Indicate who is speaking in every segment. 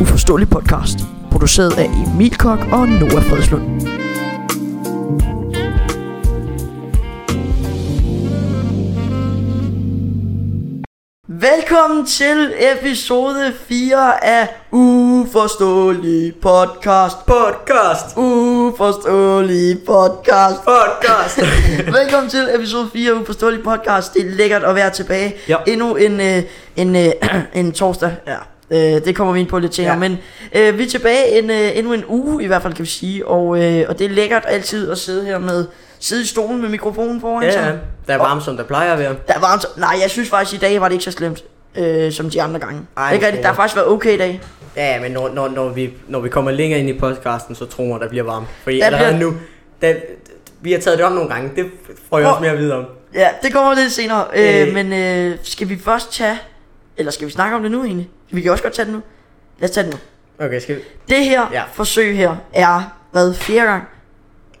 Speaker 1: uforståelig podcast, produceret af Emil Kok og Noah Fredslund. Velkommen til episode 4 af Uforståelig Podcast.
Speaker 2: Podcast!
Speaker 1: Uforståelig Podcast.
Speaker 2: Podcast!
Speaker 1: Velkommen til episode 4 af Uforståelig Podcast. Det er lækkert at være tilbage.
Speaker 2: Ja.
Speaker 1: Endnu en, øh, en, øh, en torsdag. Ja. Øh, det kommer vi ind på lidt senere. Ja.
Speaker 2: Ja.
Speaker 1: Men øh, vi er tilbage en, øh, endnu en uge, i hvert fald kan vi sige. Og, øh, og det er lækkert altid at sidde her med sidde i stolen med mikrofonen foran
Speaker 2: ja,
Speaker 1: sig.
Speaker 2: ja. Der er varmt, som der plejer at være.
Speaker 1: Der var varmt. Nej, jeg synes faktisk, i dag var det ikke så slemt, øh, som de andre gange. Ej,
Speaker 2: Ej,
Speaker 1: ikke rigtigt.
Speaker 2: okay.
Speaker 1: Der har faktisk været okay i dag.
Speaker 2: Ja, men når, når, når, vi, når vi kommer længere ind i podcasten, så tror jeg, der bliver varmt. Fordi
Speaker 1: Der
Speaker 2: der allerede
Speaker 1: bliver-
Speaker 2: nu, der, vi har taget det op nogle gange. Det får jeg
Speaker 1: Hvor-
Speaker 2: også mere at vide om.
Speaker 1: Ja, det kommer lidt senere. Øh,
Speaker 2: Øh.
Speaker 1: Men øh, skal vi først tage... Eller skal vi snakke om det nu egentlig? Vi kan også godt tage det nu. Lad os tage det nu.
Speaker 2: Okay, skal vi?
Speaker 1: Det her ja.
Speaker 2: Ja.
Speaker 1: forsøg her er hvad? Fjerde gang?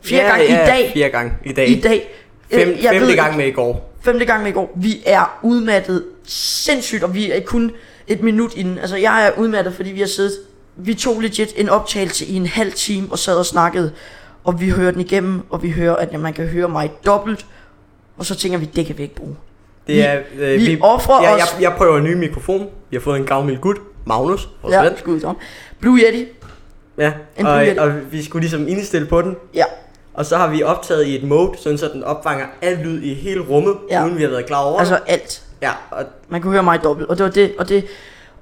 Speaker 1: Fjerde gang i dag.
Speaker 2: Fire gange i dag.
Speaker 1: I dag. Øh,
Speaker 2: Fem,
Speaker 1: jeg
Speaker 2: femte
Speaker 1: ved-
Speaker 2: gang med i går.
Speaker 1: Femte gang med i går. Vi er udmattet sindssygt, og vi er kun et minut inden. Altså, jeg er udmattet, fordi vi har siddet... Vi tog legit en optagelse i en halv time og sad og snakkede. Og vi hører den igennem, og vi hører, at man kan høre mig dobbelt. Og så tænker vi, det kan vi ikke bruge. Vi-
Speaker 2: Det er, øh,
Speaker 1: vi offrer
Speaker 2: jeg,
Speaker 1: os-
Speaker 2: Jeg, jeg prøver en ny mikrofon. Vi har fået en gavmild gut. Magnus. vores
Speaker 1: Ja,
Speaker 2: ven.
Speaker 1: skud om. Blue Yeti.
Speaker 2: ja.
Speaker 1: En
Speaker 2: Og,
Speaker 1: billet.
Speaker 2: og vi skulle ligesom indstille på den.
Speaker 1: Ja,
Speaker 2: Og så har vi optaget i et mode, sådan så den opfanger al lyd i hele rummet,
Speaker 1: Ja.
Speaker 2: ja. uden vi har været klar over. det.
Speaker 1: altså alt.
Speaker 2: Ja, og
Speaker 1: Man kunne høre mig dobbelt, og det var det, og det...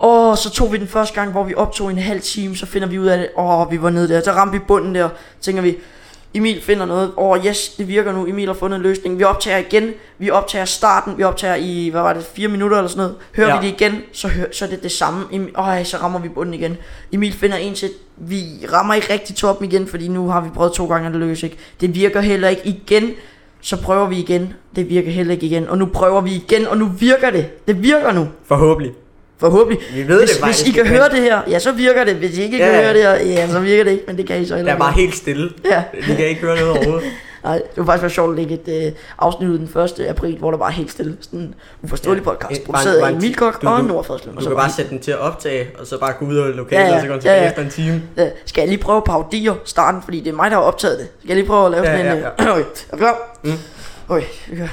Speaker 1: Åh, så tog vi den første gang, hvor vi optog en halv time, så finder vi ud af det. Åh, vi var nede der, så ramte vi bunden der, tænker vi, Emil finder noget. Åh, yes, det virker nu, Emil har fundet en løsning. Vi optager igen, vi optager starten, vi optager i, hvad var det, fire minutter eller sådan noget. Hører
Speaker 2: Ja.
Speaker 1: vi det igen, så, hører, så er det det samme. Emil, åh, så rammer vi bunden igen. Emil finder en til, vi rammer ikke rigtig toppen igen, fordi nu har vi prøvet to gange, og det løser ikke. Det virker heller ikke igen. Så prøver vi igen, det virker heller ikke igen. Og nu prøver vi igen, og nu virker det. Det virker nu.
Speaker 2: forhåbentlig.
Speaker 1: Forhåbentlig.
Speaker 2: Vi ved det
Speaker 1: hvis,
Speaker 2: faktisk
Speaker 1: Hvis I kan
Speaker 2: ikke,
Speaker 1: høre
Speaker 2: men-
Speaker 1: det her, ja, så virker det. Hvis I ikke
Speaker 2: Ja,
Speaker 1: kan
Speaker 2: ja.
Speaker 1: høre det her, ja, så virker det ikke, men det kan I så heller
Speaker 2: Der er
Speaker 1: ikke.
Speaker 2: bare helt stille.
Speaker 1: Ja.
Speaker 2: Vi kan ikke høre noget overhovedet.
Speaker 1: Nej, det var faktisk være sjovt at lægge et øh, afsnit ud den 1. april, hvor der var helt stille. Sådan en uforståelig ja, podcast,
Speaker 2: En-
Speaker 1: produceret
Speaker 2: bare
Speaker 1: af
Speaker 2: en-
Speaker 1: Emil Kok
Speaker 2: du-
Speaker 1: og
Speaker 2: du-
Speaker 1: Nordfredslund.
Speaker 2: Du kan bare sætte den til at optage, og så bare gå ud af lokalet, ja, ja. og så går den tilbage ja, ja. efter en time.
Speaker 1: Øh, skal jeg lige prøve at parodier starten, fordi det er mig, der har optaget det. Skal jeg lige prøve at lave
Speaker 2: Ja,
Speaker 1: sådan en...
Speaker 2: ja,
Speaker 1: øh, okay, er du klar? Mm. Okay, vi kører.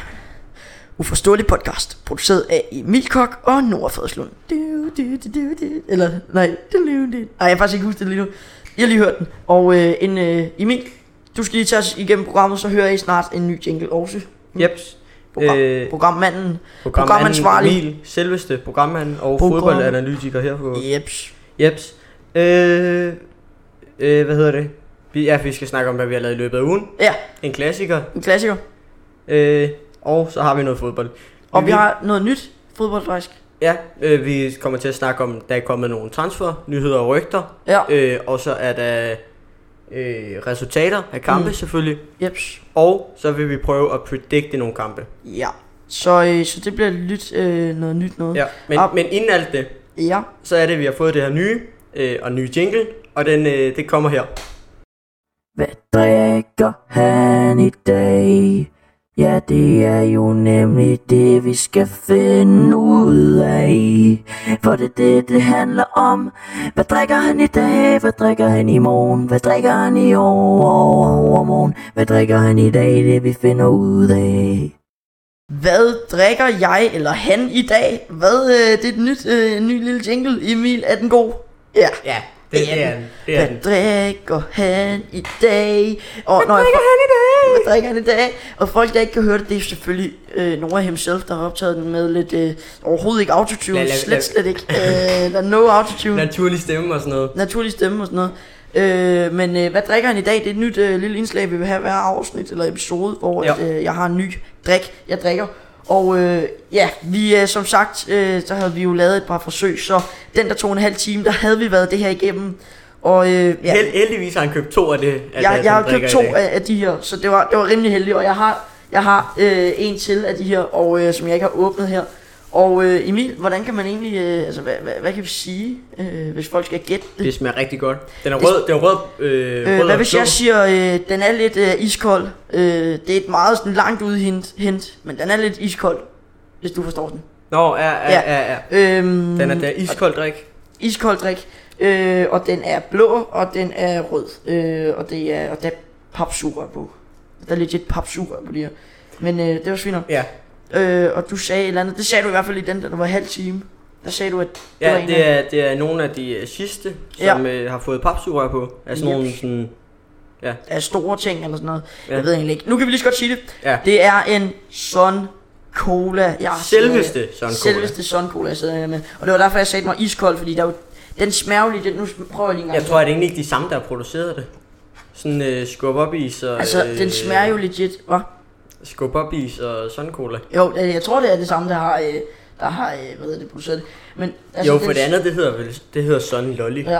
Speaker 1: Uforståelig podcast, produceret af Emil Kok og Nora Fredslund. Du, du, du, du, du. Eller, nej. Du, du, du. Ej, jeg har faktisk ikke husket det lige nu. Jeg har lige hørt den. Og øh, en øh, Emil, du skal lige tage os igennem programmet, så hører I snart en ny jingle også.
Speaker 2: Jeps.
Speaker 1: Program, øh,
Speaker 2: Øh,
Speaker 1: programmanden.
Speaker 2: Programansvarlig.
Speaker 1: Programansvarlig.
Speaker 2: Emil, selveste programmand og
Speaker 1: Program-
Speaker 2: fodboldanalytiker her på
Speaker 1: Jeps.
Speaker 2: Jeps. Øh, øh, hvad hedder det? Vi, ja, vi skal snakke om, hvad vi har lavet i løbet af ugen.
Speaker 1: Ja,
Speaker 2: En klassiker.
Speaker 1: en klassiker.
Speaker 2: Øh, og så har vi noget fodbold.
Speaker 1: Og vi har noget nyt fodbold, faktisk.
Speaker 2: Ja, øh, vi kommer til at snakke om, der er kommet nogle transfer, nyheder og rygter.
Speaker 1: Ja,
Speaker 2: Øh, og så er der øh, resultater af kampe
Speaker 1: Mm.
Speaker 2: mm. selvfølgelig.
Speaker 1: jeps.
Speaker 2: Og så vil vi prøve at predikte nogle kampe.
Speaker 1: Ja. Så, øh, så det bliver lidt øh, noget nyt noget.
Speaker 2: Ja, men,
Speaker 1: Op.
Speaker 2: men inden alt det,
Speaker 1: ja.
Speaker 2: så er det, at vi har fået det her nye øh, og nye jingle, og den, øh, det kommer her.
Speaker 1: Hvad drikker han i dag? Ja, det er jo nemlig det, vi skal finde ud af. For det er det, det handler om. Hvad drikker han i dag? Hvad drikker han i morgen? Hvad drikker han i overmorgen? Hvad drikker han i dag? Det vi finder ud af. Hvad drikker jeg eller han i dag? Hvad, øh, det er et nyt, øh, en ny lille jingle. Emil, er den god? Ja.
Speaker 2: Ja, det,
Speaker 1: Det er
Speaker 2: det er
Speaker 1: den.
Speaker 2: den. Det er
Speaker 1: Hvad
Speaker 2: den.
Speaker 1: drikker han i dag? Og, hvad drikker
Speaker 2: han i dag?
Speaker 1: Hvad drikker han i dag? Og folk, der ikke kan høre det, det er selvfølgelig øh, Nora himself, der har optaget den med lidt... Øh, overhovedet ikke autotune,
Speaker 2: Lad- lad-
Speaker 1: slet,
Speaker 2: lad-
Speaker 1: slet ikke. Øh, der er no autotune,
Speaker 2: Naturlig stemme og sådan noget.
Speaker 1: naturlig stemme og sådan noget. Øh, men øh, hvad drikker han i dag? Det er et nyt øh, lille indslag, vi vil have hver afsnit eller episode, hvor
Speaker 2: Ja.
Speaker 1: at, øh, jeg har en ny drik, jeg drikker. Og øh, ja, vi øh, som sagt, øh, så havde vi jo lavet et par forsøg, så den der tog en halv time, der havde vi været det her igennem. Og øh, ja,
Speaker 2: Held, heldigvis har han købt to af det. Af
Speaker 1: jeg,
Speaker 2: det,
Speaker 1: jeg
Speaker 2: han
Speaker 1: har købt
Speaker 2: drikker i
Speaker 1: to
Speaker 2: dag.
Speaker 1: af, af de her, så det var, det var rimelig heldigt, og jeg har, jeg har øh, en til af de her, og øh, som jeg ikke har åbnet her. Og øh, Emil, hvordan kan man egentlig, øh, altså hvad, hvad, hvad kan vi sige, øh, hvis folk skal gætte det?
Speaker 2: Det smager rigtig godt. Den er rød, den er rød, øh,
Speaker 1: Øh,
Speaker 2: rød
Speaker 1: hvad
Speaker 2: og
Speaker 1: hvis
Speaker 2: blå.
Speaker 1: jeg siger, øh, den er lidt øh, iskold? Øh, det er et meget sådan, langt ude hint, hint, men den er lidt iskold, hvis du forstår den.
Speaker 2: Nå, ja, ja,
Speaker 1: Ja.
Speaker 2: ja, ja.
Speaker 1: Øhm,
Speaker 2: Den er, den er iskold drik.
Speaker 1: iskold drik, øh, og den er blå, og den er rød, øh, og, det er, og der er papsugerør på. Der er legit papsugerør på lige her. Men øh, det var sviner.
Speaker 2: Ja,
Speaker 1: Øh, og du sagde et eller andet, det sagde du i hvert fald i den, der var halv time. Der sagde du, at det var
Speaker 2: ja
Speaker 1: en af-
Speaker 2: det, er, det er nogle af de øh, sidste, som øh, har fået papsugerør på. Altså
Speaker 1: Yep.
Speaker 2: nogle sådan...
Speaker 1: af store ting eller sådan noget.
Speaker 2: Ja.
Speaker 1: Jeg ved egentlig ikke. Nu kan vi lige så godt sige det.
Speaker 2: Ja.
Speaker 1: Det er en Sun Cola. Jeg sidder-
Speaker 2: Selveste Søren Selveste.
Speaker 1: Selveste Sun Cola, jeg sidder her med. Og det var derfor, jeg sagde, den var iskold, fordi der er jo... Den smager jo lige... Den, nu prøver jeg lige en gang.
Speaker 2: Jeg tror, at det egentlig ikke er de samme, der har produceret det. Sådan øh, skub op is og...
Speaker 1: altså, den smager jo legit, hva?
Speaker 2: Skub op is og sådan cola.
Speaker 1: Jo, jeg, jeg tror, det er det samme, der har... Øh, der har, øh, hvad hedder det, produceret det. Men,
Speaker 2: Altså, jo, for det andet, det hedder vel, det hedder Sun Lolly.
Speaker 1: Ja, ja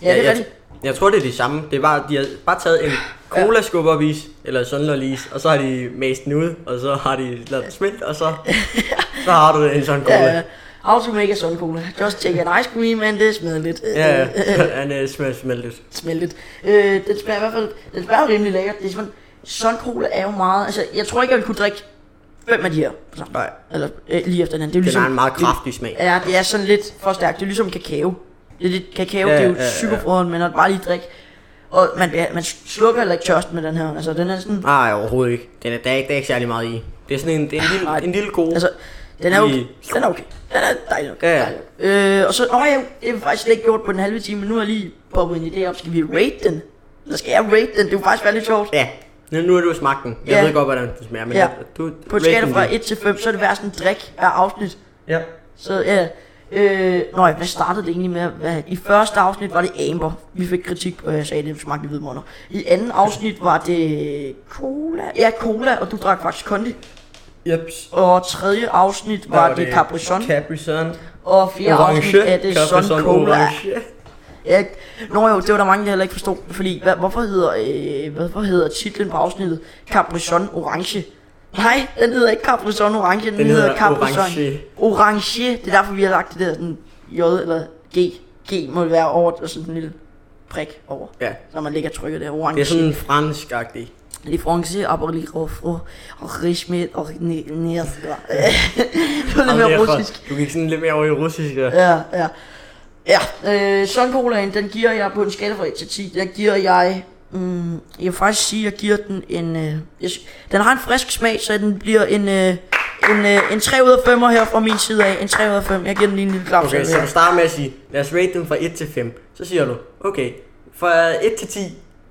Speaker 1: det er
Speaker 2: jeg,
Speaker 1: rigtigt.
Speaker 2: jeg tror, det er de samme. Det er bare, de har bare taget en cola skub op is, eller Sun Lolly is, og så har de mast den ud, og så har de lavet den smelte, og så, så har du en sådan cola.
Speaker 1: Ja, how to make a sun cola. Just take an ice cream and det smelter lidt.
Speaker 2: Ja, ja. Han øh, smager smeltet.
Speaker 1: smeltet. Øh, den smager i hvert fald, den smager jo rimelig lækkert. Det er sådan, sådan cola er jo meget, altså jeg tror ikke, jeg ville kunne drikke fem af de her. på samme-
Speaker 2: Nej.
Speaker 1: Eller øh, lige efter hinanden. Det er jo
Speaker 2: Den
Speaker 1: ligesom,
Speaker 2: har en meget kraftig smag.
Speaker 1: Ja, det er sådan lidt for stærkt. Det er ligesom kakao. Det er lidt kakao,
Speaker 2: Ja,
Speaker 1: det er jo
Speaker 2: ja, ja.
Speaker 1: psykofroden, men når du bare lige drikke. Og man, bliver- man slukker heller ikke tørsten med den her. Altså den er sådan,
Speaker 2: Nej, overhovedet ikke. Den er, der, er ikke, der er ikke særlig meget i. Det er sådan en, det er en,
Speaker 1: Nej.
Speaker 2: lille, en lille god.
Speaker 1: altså den er okay.
Speaker 2: Lige-
Speaker 1: Den er okay. Den er dejlig nok.
Speaker 2: Ja, ja.
Speaker 1: dejlig nok. Øh, og så, åh ja, det har vi faktisk slet ikke gjort på den halve time, men nu har jeg lige poppet en idé op. Skal vi rate den? Eller skal jeg rate den? Det kunne faktisk være lidt sjovt.
Speaker 2: ja. Nu, nu er du smagt den. Jeg
Speaker 1: Ja.
Speaker 2: ved godt, hvordan den smager, men altså,
Speaker 1: Ja.
Speaker 2: du...
Speaker 1: På en skala fra 1 til 5, så er det værst en drik hver afsnit.
Speaker 2: Ja.
Speaker 1: Så ja, øh, nøj, hvad startede det egentlig med? Hvad? I første afsnit var det Amber. Vi fik kritik på, at jeg sagde, at det smagte hvide måneder. I anden afsnit var det cola. Ja, cola, og du drak faktisk kondi.
Speaker 2: Jeps.
Speaker 1: Og tredje afsnit var, var det, det Capri Sun.
Speaker 2: Capri Sun.
Speaker 1: og fjerde afsnit
Speaker 2: Orange.
Speaker 1: er det
Speaker 2: Capri
Speaker 1: Sun
Speaker 2: Sun
Speaker 1: Cola.
Speaker 2: orange.
Speaker 1: Ja, nå jo, det var der mange, der heller ikke forstod. Fordi, hvad, hvorfor, hedder, øh, hvorfor hedder titlen på afsnittet Capri Sun Orange? Nej, den hedder ikke Capri Sun Orange, den,
Speaker 2: Den
Speaker 1: hedder,
Speaker 2: hedder
Speaker 1: Capri Sun
Speaker 2: Orange.
Speaker 1: Orange. Det er derfor, vi har lagt det der sådan, J eller G. G må det være over, og sådan en lille prik over.
Speaker 2: Ja.
Speaker 1: Så man ligger trykket der, orange.
Speaker 2: Det er sådan fransk-agtig.
Speaker 1: Les Français appellent au froid, au régime, au næsgræ. Det var lidt mere russisk.
Speaker 2: Du gik sådan lidt mere over i russisk. Ja.
Speaker 1: Ja, ja. Ja, øh, Sun Colaen, den giver jeg på en skala fra 1 til 10, der giver jeg, mm, jeg vil faktisk sige, jeg giver den en, øh, jeg, sy- den har en frisk smag, så den bliver en, øh, en, øh, en 3 ud af 5 her fra min side af, en 3 ud af 5, jeg giver den lige en lille klap.
Speaker 2: Okay, så du starter med at sige, lad os rate den fra 1 til 5. Så siger du, okay, fra 1 til 10,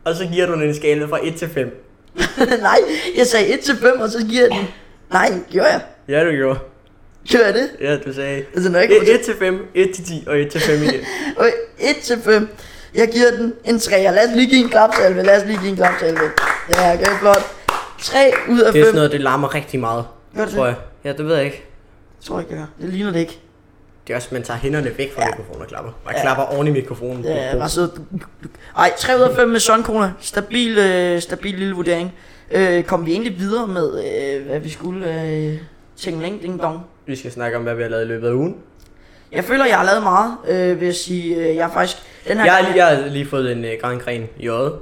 Speaker 2: og så giver du den en skala fra 1 til 5.
Speaker 1: Nej, jeg sagde 1 til 5, og så giver jeg den, nej, gjorde jeg,
Speaker 2: Ja, du gjorde.
Speaker 1: gjorde jeg det?
Speaker 2: Ja, du sagde
Speaker 1: Altså, når jeg ikke
Speaker 2: 1 til 5, 1 til 10 og 1 til 5 igen.
Speaker 1: Okay, 1 til 5. Jeg giver den en 3. Lad os lige give en klapsalve. Lad os lige give en klapsalve. Ja, det er godt. 3 ud af 5.
Speaker 2: Det er sådan noget, det larmer rigtig meget,
Speaker 1: Gør det
Speaker 2: tror
Speaker 1: det?
Speaker 2: jeg. Ja, det ved jeg ikke.
Speaker 1: Tror jeg, det gør. Det ligner det ikke.
Speaker 2: Det er også, man tager hænderne væk fra ja. mikrofonen og klapper. Man ja. klapper oven i mikrofonen.
Speaker 1: Ja, bare sidder... Ej, 3 ud af 5 med Sonkona. Stabil, øh, stabil lille vurdering. Øh, kom vi egentlig videre med, øh, hvad vi skulle... Øh, ting længe, ding dong.
Speaker 2: Vi skal snakke om, hvad vi har lavet i løbet af ugen.
Speaker 1: Jeg føler, jeg har lavet meget, øh, vil jeg sige. Øh, jeg har faktisk... Den her
Speaker 2: Jeg har
Speaker 1: gang-
Speaker 2: lige, jeg har lige fået en uh, gran gren i øjet.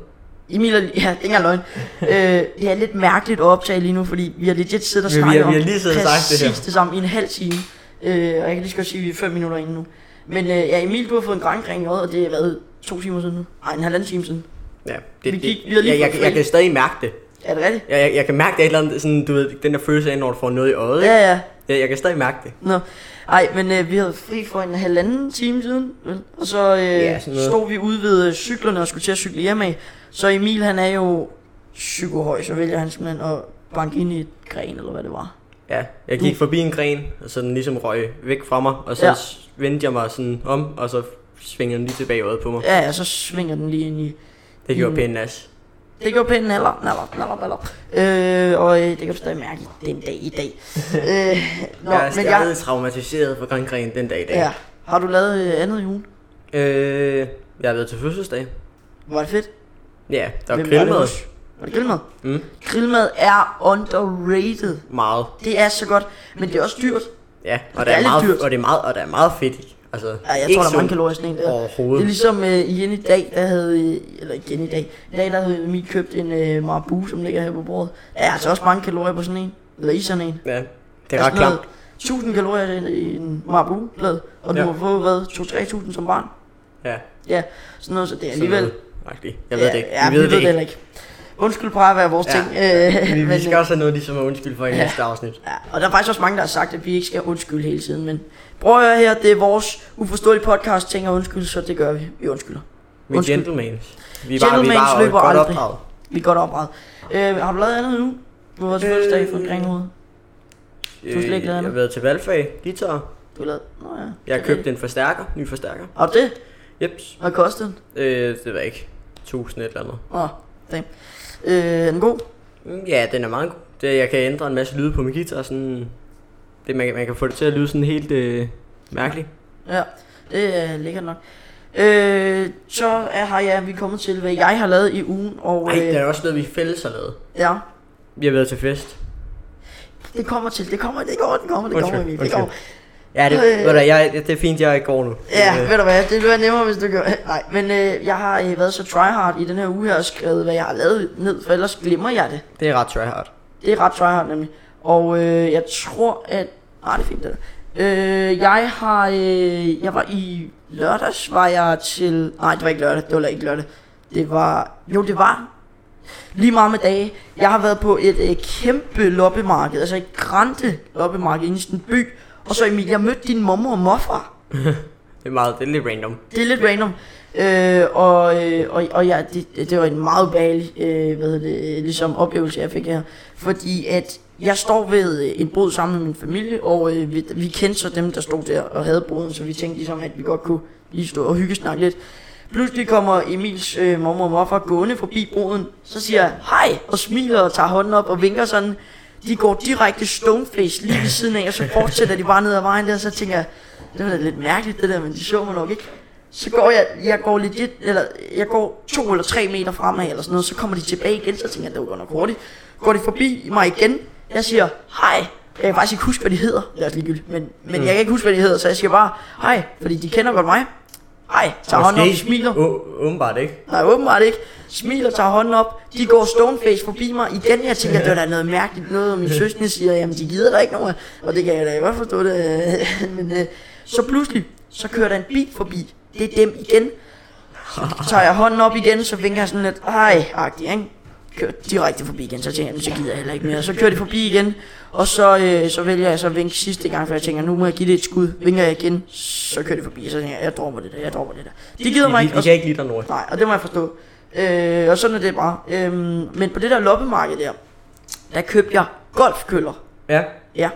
Speaker 1: Emil er, ja, det er ikke engang løgn. øh, det er lidt mærkeligt at optage lige nu, fordi vi har legit siddet og
Speaker 2: Vi- vi har-
Speaker 1: snakket
Speaker 2: vi har
Speaker 1: om
Speaker 2: lige siddet og sagt det her.
Speaker 1: præcis det samme i en halv time. Øh, og jeg kan lige så godt sige, at vi er fem minutter inde nu. Men øh, ja, Emil, du har fået en grankring i øjet, og det har været to timer siden nu. Nej, en halvanden time siden.
Speaker 2: Ja, det,
Speaker 1: Vi
Speaker 2: det,
Speaker 1: gik- vi har lige
Speaker 2: jeg, jeg,
Speaker 1: fået
Speaker 2: jeg,
Speaker 1: fri.
Speaker 2: jeg, kan stadig mærke det.
Speaker 1: Er det rigtigt?
Speaker 2: Jeg, jeg, jeg kan mærke det et eller andet, sådan, du ved, den der følelse af, når du får noget i øjet. ikke?
Speaker 1: Ja, ja.
Speaker 2: Jeg, jeg kan stadig mærke det.
Speaker 1: Nå. Ej, men øh, vi havde fri for en halvanden time siden, vel? og så øh,
Speaker 2: Ja,
Speaker 1: ja,
Speaker 2: sådan noget.
Speaker 1: stod vi ude ved øh, cyklerne og skulle til at cykle hjem af. Så Emil, han er jo psykohøj, så vælger han simpelthen at banke ind i et gren, eller hvad det var.
Speaker 2: Ja, jeg gik forbi en gren, og så den ligesom røg væk fra mig, og så
Speaker 1: Ja.
Speaker 2: ja. vendte jeg mig sådan om, og så svingede den lige tilbage i øjet på mig.
Speaker 1: Ja, ja, så svinger den lige ind i
Speaker 2: Det gjorde
Speaker 1: Mm.
Speaker 2: pænt nas.
Speaker 1: Det gjorde pænt naller, naller, naller, naller. Øh, og øh, det kan du stadig mærke, det er en dag i dag. øh, nå,
Speaker 2: jeg er
Speaker 1: men jeg...
Speaker 2: stadig traumatiseret for Gran Gren den dag i dag.
Speaker 1: Ja, har du lavet øh, andet i ugen?
Speaker 2: Øh, jeg har været til fødselsdag.
Speaker 1: Var det fedt?
Speaker 2: Ja, der var
Speaker 1: Hvem var det
Speaker 2: grillmad.
Speaker 1: hos? Var det grillmad?
Speaker 2: Mm,
Speaker 1: Grillmad er underrated.
Speaker 2: meget.
Speaker 1: Det er så godt, men det er også dyrt.
Speaker 2: Ja, og
Speaker 1: Det
Speaker 2: der
Speaker 1: er
Speaker 2: er,
Speaker 1: lidt dyrt.
Speaker 2: meget, og det er meget, og der er meget fedt i. Altså,
Speaker 1: Ja, jeg
Speaker 2: ikke
Speaker 1: tror, der er mange
Speaker 2: sundt
Speaker 1: kalorier i sådan en der. Det er
Speaker 2: Overhovedet.
Speaker 1: ligesom øh, igen i dag, der havde, øh, eller igen i dag, i dag der havde Emil købt en øh, marabu, som ligger her på bordet. Ja, altså også mange kalorier på sådan en, eller i sådan en.
Speaker 2: Ja, det er ret
Speaker 1: sådan noget
Speaker 2: klamt.
Speaker 1: 1000 kalorier i en marabu plade Og du
Speaker 2: Ja.
Speaker 1: har fået, hvad, 2-3.000 som barn?
Speaker 2: Ja.
Speaker 1: Ja, sådan noget, så det er
Speaker 2: sådan
Speaker 1: alligevel...
Speaker 2: noget. Agtigt. Jeg ved det ikke.
Speaker 1: Ja,
Speaker 2: vi ved det ikke.
Speaker 1: heller ikke. Undskyld bare at være vores
Speaker 2: Ja.
Speaker 1: ting. Øh,
Speaker 2: Vi,
Speaker 1: men,
Speaker 2: vi skal også have noget, de som er undskyld for i næste afsnit.
Speaker 1: Ja, og der er faktisk også mange, der har sagt, at vi ikke skal undskylde hele tiden, men prøv at høre her, det er vores uforståelige podcast, ting og undskyld, så det gør vi. Vi undskylder.
Speaker 2: Vi er
Speaker 1: Undskyld.
Speaker 2: gentlemans. Vi er bare, vi er
Speaker 1: Gentlemans
Speaker 2: bare
Speaker 1: løber
Speaker 2: godt
Speaker 1: aldrig.
Speaker 2: opdraget.
Speaker 1: Vi er godt oprettet. Øh, har du lavet andet nu? Du har også
Speaker 2: Øh.
Speaker 1: fødselsdag for Grenhoved. Du har slet ikke
Speaker 2: Øh,
Speaker 1: lavet
Speaker 2: Jeg har
Speaker 1: andet.
Speaker 2: været til valgfag, guitar.
Speaker 1: Du har lavet... Nå ja.
Speaker 2: Jeg har
Speaker 1: det er
Speaker 2: købt en forstærker, ny forstærker.
Speaker 1: det. Har du det?
Speaker 2: Jeps.
Speaker 1: Hvad koster den?
Speaker 2: Øh, det var ikke. 1000 et eller andet.
Speaker 1: Åh, damn. Øh, er den god?
Speaker 2: Mm, Ja, den er meget god. Det, jeg kan ændre en masse lyde på min guitar, sådan... Det, man, kan- man kan få det til at lyde sådan helt øh, mærkeligt.
Speaker 1: Ja, det er lækkert nok. Øh, så er, har jeg, vi er kommet til, hvad jeg har lavet i ugen, og
Speaker 2: Ej, der
Speaker 1: øh,
Speaker 2: er også noget, vi fælles har lavet.
Speaker 1: ja,
Speaker 2: Vi har været til fest.
Speaker 1: det kommer til, det kommer, det kommer, det kommer, det
Speaker 2: Undskyld,
Speaker 1: kommer, Emil, det
Speaker 2: undskyld.
Speaker 1: kommer.
Speaker 2: Ja, det,
Speaker 1: Øh.
Speaker 2: øh. ved du, jeg, det er fint, jeg ikke går nu.
Speaker 1: Ja,
Speaker 2: Øh,
Speaker 1: ved du hvad, det bliver nemmere, hvis du gør Nej, men øh, jeg har øh, været så tryhard i den her uge her og skrevet, hvad jeg har lavet ned, for ellers glemmer jeg det.
Speaker 2: det er ret tryhard.
Speaker 1: Det er ret tryhard nemlig. Og øh, jeg tror, at... Nej, det er fint, det der. Øh, jeg har... Øh, jeg var i lørdags, var jeg til... Nej, det var ikke lørdag, det var ikke lørdag. Det var... Jo, det var... Lige meget med dage. Jeg har været på et øh, kæmpe loppemarked, altså et grande loppemarked inde i sådan en by. Og så Emil, jeg mødte din mormor og morfar.
Speaker 2: Det er meget, det er lidt random.
Speaker 1: Det er lidt random. Øh, og øh, og, og ja, det, det var en meget ubehagelig øh, hvad hedder det, øh, ligesom oplevelse, jeg fik her. Fordi at jeg står ved øh, en bod sammen med min familie, og øh, vi, vi kendte så dem, der stod der og havde boden, så vi tænkte ligesom, at vi godt kunne lige stå og hygge snakke lidt. Pludselig kommer Emils øh, mormor og morfar gående forbi broden, så siger jeg hej, og smiler og tager hånden op og vinker sådan. De går direkte stoneface lige ved siden af, og så fortsætter de bare ned ad vejen der, så tænker jeg, det var da lidt mærkeligt det der, men de så mig nok ikke. Så går jeg, jeg går legit, eller jeg går to eller tre meter fremad eller sådan noget, så kommer de tilbage igen, så tænker jeg, det var godt nok hurtigt. Går de forbi mig igen, jeg siger, hej, jeg kan faktisk ikke huske, hvad de hedder, det er også ligegyldigt, men, men jeg kan ikke huske, hvad de hedder, så jeg siger bare, hej, fordi de kender godt mig. Hej, tager hånden op og smiler.
Speaker 2: Å- åbenbart ikke.
Speaker 1: Nej, åbenbart ikke. Smiler, tager hånden op. De går stoneface forbi mig igen. Jeg tænker, det var da noget mærkeligt noget. Og min søskende siger, jamen de gider der ikke nogen. af." Og det kan jeg da godt forstå det. Men øh, så pludselig, så kører der en bil forbi. Det er dem igen. Så tager jeg hånden op igen, så vinker jeg sådan lidt, hej, agtig, ikke? Kører direkte forbi igen, så tænker jeg, "Men så gider jeg heller ikke mere. Så kører de forbi igen, og så, øh, så vælger jeg så at vinke sidste gang, for jeg tænker, nu må jeg give det et skud. Vinker jeg igen, så kører de forbi, så tænker jeg, jeg dropper det der, jeg dropper det der. De gider mig
Speaker 2: De,
Speaker 1: ikke,
Speaker 2: de, de
Speaker 1: og
Speaker 2: kan ikke lide dig, Nora.
Speaker 1: Nej, og det må jeg forstå. Øh, og sådan er det bare. Øh, men på det der loppemarked der, der købte jeg golfkøller.
Speaker 2: Ja,
Speaker 1: Ja.